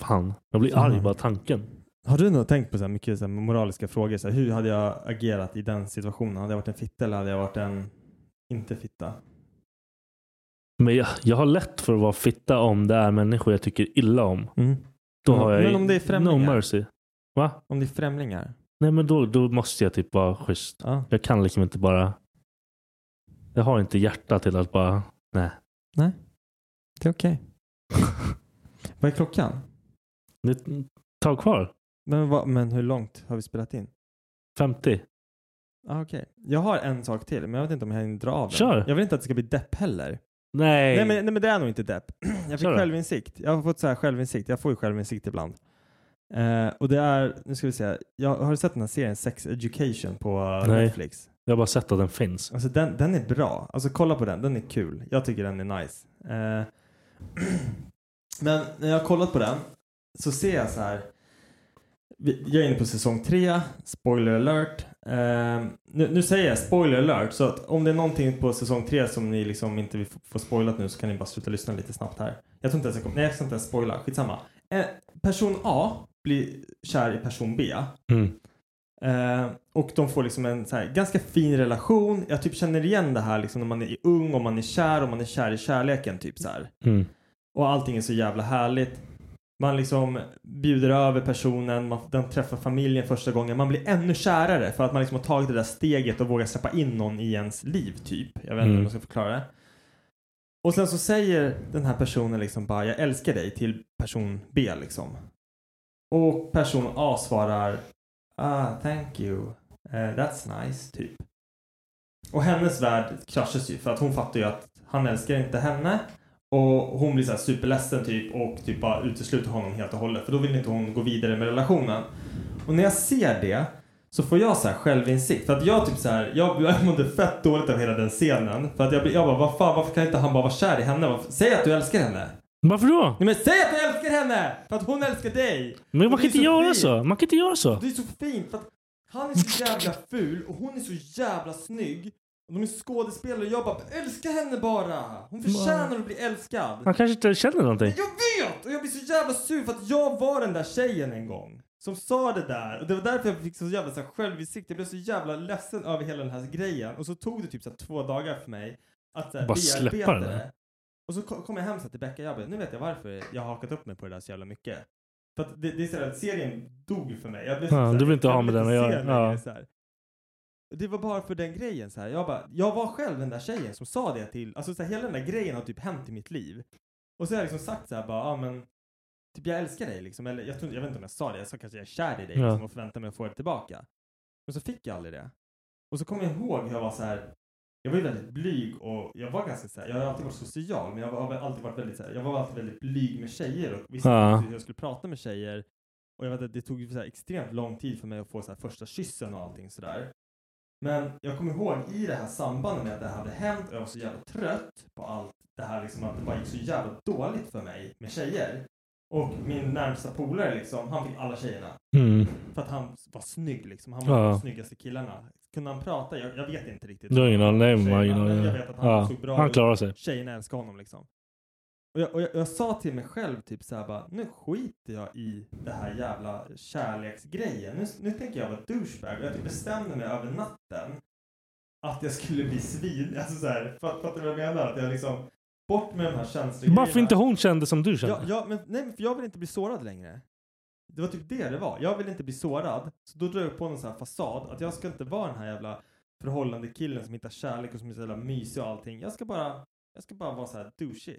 S4: Fan, jag blir
S1: Fan.
S4: arg bara tanken.
S1: Har du något tänkt på så här mycket så här moraliska frågor? Så här, hur hade jag agerat i den situationen? Hade jag varit en fitta eller hade jag varit en inte fitta?
S4: Men jag, jag har lätt för att vara fitta om det är människor jag tycker illa om.
S1: Mm.
S4: Då
S1: Men-
S4: har jag
S1: men
S4: ju-
S1: om det är främlingar?
S4: No mercy. Va?
S1: Om det är främlingar?
S4: Nej men då, då måste jag typ vara schysst.
S1: Ja.
S4: Jag kan liksom inte bara... Jag har inte hjärta till att bara... Nej.
S1: Det är okej. vad är klockan?
S4: Det är ett tag kvar.
S1: Men, vad, men hur långt har vi spelat in?
S4: 50.
S1: Ah, okej. Jag har en sak till, men jag vet inte om jag hinner dra av den.
S4: Kör.
S1: Jag vill inte att det ska bli depp heller.
S4: Nej.
S1: Nej men, nej men det är nog inte depp. (clears throat) Jag fick
S4: Kör då.
S1: självinsikt. Jag har fått så här självinsikt. Jag får ju självinsikt ibland. Eh, och det är, nu ska vi se. Jag, har du sett den här serien Sex Education på eh,
S4: Nej.
S1: Netflix?
S4: Jag har bara sett att den finns.
S1: Alltså den, den är bra. Alltså kolla på den. Den är kul. Jag tycker den är nice. Eh, (clears throat) men när jag har kollat på den så ser jag så här. Vi- Jag är inne på säsong tre. Spoiler alert. Eh, nu, nu säger jag spoiler alert så att om det är någonting på säsong tre som ni liksom inte vill få- få spoilat nu så kan ni bara sluta lyssna lite snabbt här. Jag tror inte ens jag kommer, nej jag ska inte ens spoila. Skitsamma. Eh, person A blir kär i person B.
S4: Mm.
S1: Eh, och de får liksom en så här, ganska fin relation. Jag typ känner igen det här liksom när man är ung och man är kär och man är kär i kärleken typ så här.
S4: Mm.
S1: Och allting är så jävla härligt. Man liksom bjuder över personen, man, den träffar familjen första gången. Man blir ännu kärare för att man liksom har tagit det där steget och vågar släppa in någon i ens liv typ. Jag vet inte
S4: Mm.
S1: hur man ska förklara det. Och sen så säger den här personen liksom bara jag älskar dig till person B liksom. Och person A svarar ah thank you, Eh, that's nice typ. Och hennes värld kraschas ju för att hon fattar ju att han älskar inte henne. Och hon blir så här superledsen typ och typ bara utesluter honom helt och hållet för då vill inte hon gå vidare med relationen. Och när jag ser det så får jag så här självinsikt. För att jag typ så här, jag, jag mådde fett dåligt av hela den scenen. För att jag, blir- jag bara, vad fan varför kan inte han bara vara kär i henne? Varför, säg att du älskar henne!
S4: Varför då?
S1: Nej men säg att du älskar henne! För att hon älskar dig!
S4: Men
S1: Det
S4: man
S1: är
S4: kan inte
S1: så
S4: göra
S1: fint.
S4: så. Man kan inte göra så.
S1: Det är så fint för att han är så jävla ful och hon är så jävla snygg. Och de är skådespelare och jag bara, älska henne bara! Hon förtjänar att bli älskad!
S4: Han kanske inte känner
S1: Men
S4: någonting.
S1: Jag vet! Och jag blir så jävla sur för att jag var den där tjejen en gång. Som sa det där. Och det var därför jag fick så jävla så här, självinsikt. Jag blev så jävla ledsen över hela den här grejen. Och så tog det typ så här, två dagar för mig att så här,
S4: Bara
S1: bearbeta
S4: släppa det där.
S1: det. Och så ko- kom jag hem så här, till Becka och jag bara, nu vet jag varför jag har hakat upp mig på det där så jävla mycket. För att det, det är så här, serien dog för mig. Jag blev så
S4: Ja,
S1: här,
S4: du vill inte
S1: jag
S4: ha med
S1: vill
S4: den
S1: inte
S4: att
S1: se
S4: göra.
S1: längre
S4: Ja.
S1: så här.
S4: Det var bara för den grejen så här. Jag bara, jag var själv den där tjejen som sa det till, alltså så här, hela den där grejen har typ hänt i mitt liv. Och så har jag liksom sagt så här bara, ja men, typ jag älskar dig liksom, eller jag, tror, jag vet inte om jag sa det, jag sa kanske jag är kär i dig
S1: Ja.
S4: liksom, och förväntar mig att få det tillbaka. Men så fick jag aldrig (laughs) det. Och så kommer jag ihåg hur jag var så här, jag var ju väldigt blyg och jag var ganska så här, jag har alltid varit social men jag var- har väl alltid varit väldigt så här, jag var alltid väldigt blyg med tjejer och visste
S1: Ja.
S4: inte hur jag skulle prata med tjejer. Och jag vet att det tog ju så här extremt lång tid för mig att få så här första kyssen och allting sådär. Men jag kommer ihåg i det här sambandet med att det här hade hänt och jag var så jävla trött på allt det här liksom att det bara gick så jävla dåligt för mig med tjejer. Och min närmsta polare liksom, han fick alla tjejerna.
S1: Mm.
S4: För att han var snygg liksom. Han var en av
S1: Ja.
S4: de snyggaste killarna. Kunde han prata? Jag, jag vet inte riktigt.
S1: Du har ingen aning? Nej, man har ingen
S4: Tjejerna, men
S1: aning.
S4: jag vet att han
S1: Ja,
S4: såg bra
S1: Han
S4: ut.
S1: klarar sig.
S4: Tjejerna älskar honom liksom. Och jag, och jag, jag sa till mig själv typ såhär bara, nu skiter jag i det här jävla kärleksgrejen. Nu, nu tänker jag vara douchebag. Och jag typ bestämde mig över natten att jag skulle bli svin. Alltså såhär, fatt- fattar du vad jag menar? Att jag liksom, bort med de här känslogrejerna.
S1: Varför inte hon kände som du kände?
S4: Ja, ja, men, nej, men för jag vill inte bli sårad längre. Det var typ det det var. Jag vill inte bli sårad. Så då drar jag på någon sån här fasad att jag ska inte vara den här jävla förhållande killen som hittar kärlek och som är så jävla mysig och allting. Jag ska bara, jag ska bara vara så här douchey.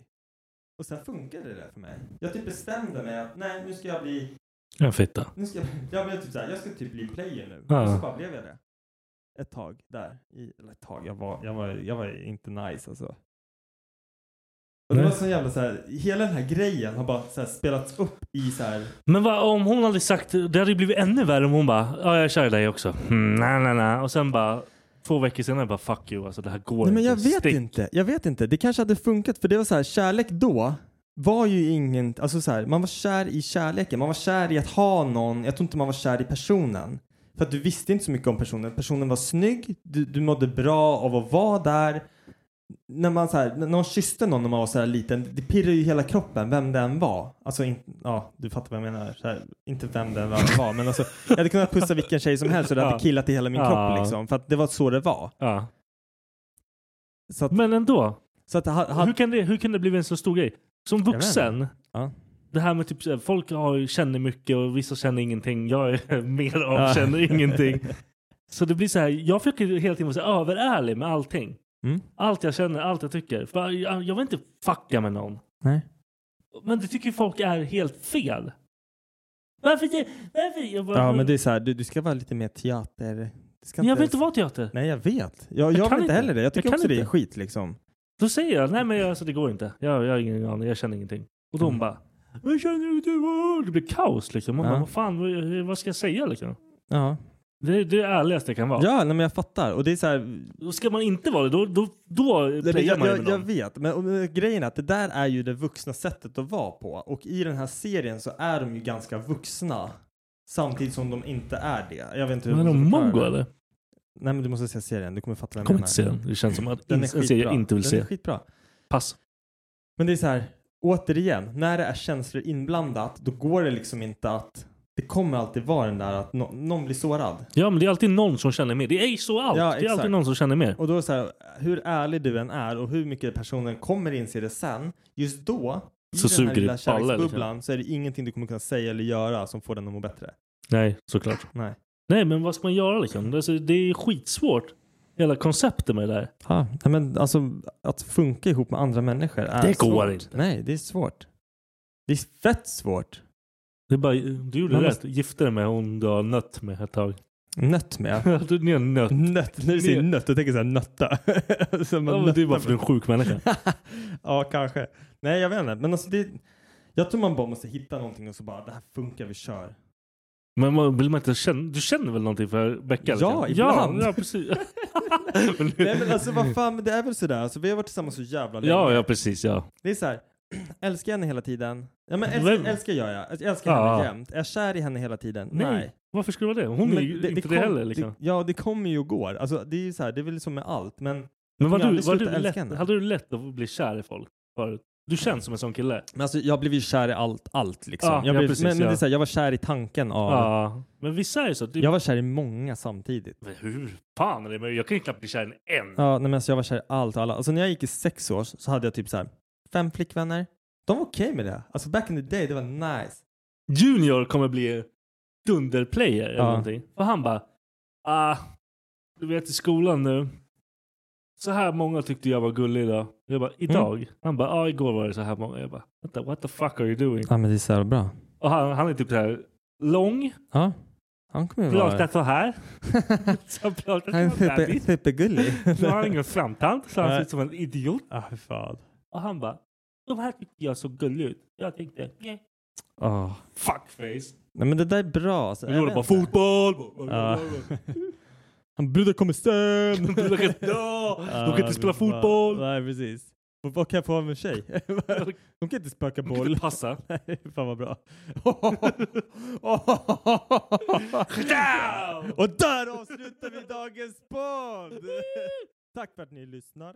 S4: Och sen funkade det där för mig. Jag typ bestämde mig att nej, nu ska jag bli,
S1: En fitta.
S4: nu ska jag, ja, men jag, typ så här, jag ska typ bli player nu.
S1: Ja.
S4: Och så bara blev jag det. Ett tag där. I, eller ett tag, jag var, jag var, jag var inte nice alltså. Och det
S1: Nej.
S4: var så jävla så här, hela den här grejen har bara så här spelats upp i så här.
S1: Men vad, om hon hade sagt, det hade ju blivit ännu värre om hon bara ja, jag kör dig också. Mm, nej, nej, nej. Och sen bara två veckor senare bara fuck you alltså det här går
S4: Nej men jag vet
S1: Stick.
S4: inte, jag vet inte. Det kanske hade funkat för det var så här, kärlek då var ju ingen, alltså så här, man var kär i kärleken, man var kär i att ha någon, jag tror inte man var kär i personen. För att du visste inte så mycket om personen, personen var snygg, du, du mådde bra av att vara där. När man så här, när någon kysste någon när man var så här liten, det pirrar ju i hela kroppen vem den var. Alltså, in, ja, du fattar vad jag menar. Så här, inte vem den var, men alltså, jag hade kunnat pussa vilken tjej som helst och det hade
S1: Ja.
S4: killat i hela min
S1: Ja.
S4: kropp liksom. För att det var så det var.
S1: Ja.
S4: Så att,
S1: Men ändå.
S4: så att ha, ha,
S1: Hur, kan det, hur kan det bli en så stor grej? Som
S4: vet
S1: vuxen.
S4: Ja.
S1: Det här med typ så här, folk har, ju- känner mycket och vissa känner ingenting. Jag är (laughs) mer av
S4: Ja. (laughs)
S1: känner ingenting. Så det blir så här, jag försöker hela tiden vara så här överärlig med allting.
S4: Mm.
S1: Allt jag känner, allt jag tycker. För jag, jag vill inte fucka med någon.
S4: Nej.
S1: Men det tycker ju folk är helt fel. Varför det? Varför? Jag, bara,
S4: Ja, men det är så här, du, du ska vara lite mer teater. Du ska
S1: jag vill inte vara teater.
S4: Nej, jag vet. Jag, jag,
S1: kan
S4: vill inte
S1: inte.
S4: heller det.
S1: Jag
S4: Jag tycker
S1: kan
S4: också det är
S1: inte.
S4: skit liksom.
S1: Då säger jag, nej men jag- alltså, det går inte. Jag, jag har ingen aning, jag känner ingenting. Och de
S4: Mm.
S1: bara, vad känner du? du? åh?" Det blir kaos liksom. Man
S4: Ja.
S1: bara, vad fan, vad, vad ska jag säga liksom?
S4: Ja,
S1: Det, det är det ärligaste jag kan vara.
S4: ja nej, men jag fattar. Och det är så här,
S1: Då ska man inte vara det, då, då, då
S4: Nej, men
S1: playar
S4: jag,
S1: man ju med
S4: jag, jag
S1: någon.
S4: vet, men och, men grejen är att det där är ju det vuxna sättet att vara på. Och i den här serien så är de ju ganska vuxna. Samtidigt som de inte är det. Jag vet inte hur
S1: Men
S4: jag
S1: är de
S4: måste förklara
S1: mongo
S4: det.
S1: eller?
S4: Nej men du måste se serien, du kommer fatta vad jag
S1: Kom
S4: menar.
S1: inte se den. Det känns som att
S4: Den
S1: en
S4: är
S1: serie
S4: skitbra.
S1: jag inte vill
S4: den
S1: se.
S4: är skitbra.
S1: Pass.
S4: Men det är så här, återigen, när det är känslor inblandat, då går det liksom inte att... Det kommer alltid vara den där att nå- någon blir sårad.
S1: Ja men det är alltid någon som känner mer. Det är så allt.
S4: Ja,
S1: det är
S4: exakt.
S1: alltid någon som känner mer.
S4: Och då är det så här, hur ärlig du än är och hur mycket personen kommer inse det sen, just då, i
S1: Så
S4: den här
S1: suger
S4: lilla
S1: det på alla, liksom.
S4: kärleksbubblan, så är det ingenting du kommer kunna säga eller göra som får den att må bättre.
S1: Nej, såklart.
S4: Nej.
S1: Nej, men vad ska man göra liksom? Alltså, det är skitsvårt. Hela konceptet med det där.
S4: Ja, nej, men alltså att funka ihop med andra människor är
S1: Det går
S4: svårt.
S1: inte.
S4: Nej, det är svårt. Det är fett svårt.
S1: Det är bara, du gjorde
S4: Man
S1: rätt.
S4: måste-
S1: Gifte dig med hon du har nött med ett tag.
S4: Nött med.
S1: (laughs) du ni har nött.
S4: Nött, när du säger nött, då tänker jag såhär nötta. (laughs) Så man
S1: Ja, men det är
S4: nöttar
S1: bara för att du är en sjuk människa.
S4: ja, kanske. Nej, jag vet inte. Men alltså, det, jag tror man bara måste hitta någonting och så bara, det här funkar, vi kör.
S1: Men man, vill man inte känna, du känner väl någonting för Becka?
S4: Ja,
S1: liksom?
S4: ibland.
S1: Ja,
S4: (laughs)
S1: ja, precis. Men nu-
S4: Nej, men alltså vad fan, men det är väl sådär. Alltså, vi har varit tillsammans så jävla länge.
S1: ja, ja, precis. Ja.
S4: Det är så här, (clears throat) älskar jag henne hela tiden? Ja, men
S1: Vem?
S4: älskar, älskar jag, ja. Alltså, Jag älskar
S1: Ja.
S4: henne jämt. Är jag kär i henne hela tiden?
S1: Nej. Varför skulle det vara det? Hon är
S4: Men
S1: ju inte det,
S4: kom-
S1: heller. Liksom.
S4: Det, ja, det kommer ju och går. Alltså, det är ju så här, det är väl som med allt. Men,
S1: men
S4: kommer
S1: var du,
S4: aldrig
S1: var
S4: sluta
S1: du
S4: älska
S1: lätt,
S4: henne.
S1: hade du lätt att bli kär i folk förut? Du känns som en sån kille.
S4: men alltså, jag blev ju kär i allt, allt liksom.
S1: Ja,
S4: jag
S1: ja,
S4: blev,
S1: precis,
S4: men, men
S1: ja.
S4: det är så här, jag var kär i tanken av...
S1: Ja. Men vissa är ju så. att Du,
S4: Jag var kär i många samtidigt.
S1: Men Hur fan är det möjligt? Jag kan ju knappt bli kär i en.
S4: Ja, nej, men alltså jag var kär i allt och alla. Alltså när jag gick i sex år så hade jag typ så här fem flickvänner. De var okej med det. Alltså back in the day, det var nice.
S1: Junior kommer bli dunderplayer eller
S4: Ja.
S1: någonting. Och han bara, ah, du vet i skolan nu. Så här många tyckte jag var gullig idag. Jag bara,
S4: Mm.
S1: idag? Han bara, ja igår var det så här många. Jag bara, what the, what the fuck are you doing?
S4: Ja, men det är så jävla bra.
S1: Och han, han är typ så här lång,
S4: Ja, han kommer ju vara...
S1: pratar
S4: (laughs)
S1: så här. så han pratar
S4: Han är
S1: som en
S4: super,
S1: bebis.
S4: supergullig.
S1: Nu har han ingen framtand så han
S4: Nej.
S1: ser ut som en idiot.
S4: ah, fy fan.
S1: Och han bara, de här tyckte jag såg gulliga ut. Jag tänkte, yeah.
S4: Ah.
S1: fuckface.
S4: Nej men det där är bra. Alltså,
S1: Vi
S4: jag
S1: gjorde
S4: vet
S1: bara
S4: inte. Ah.
S1: fotboll. (laughs)
S4: Ja. Han brudar kommer sen.
S1: De kan,
S4: (laughs)
S1: ja, de kan inte spela fotboll.
S4: Ah, Nej precis. Och Vad kan jag få av en tjej? (laughs) De kan inte sparka
S1: De kan
S4: boll.
S1: inte passa.
S4: (laughs) Nej, fan vad bra.
S1: (laughs) Down! (laughs)
S4: Och där avslutar vi dagens podd! Tack för att ni lyssnar.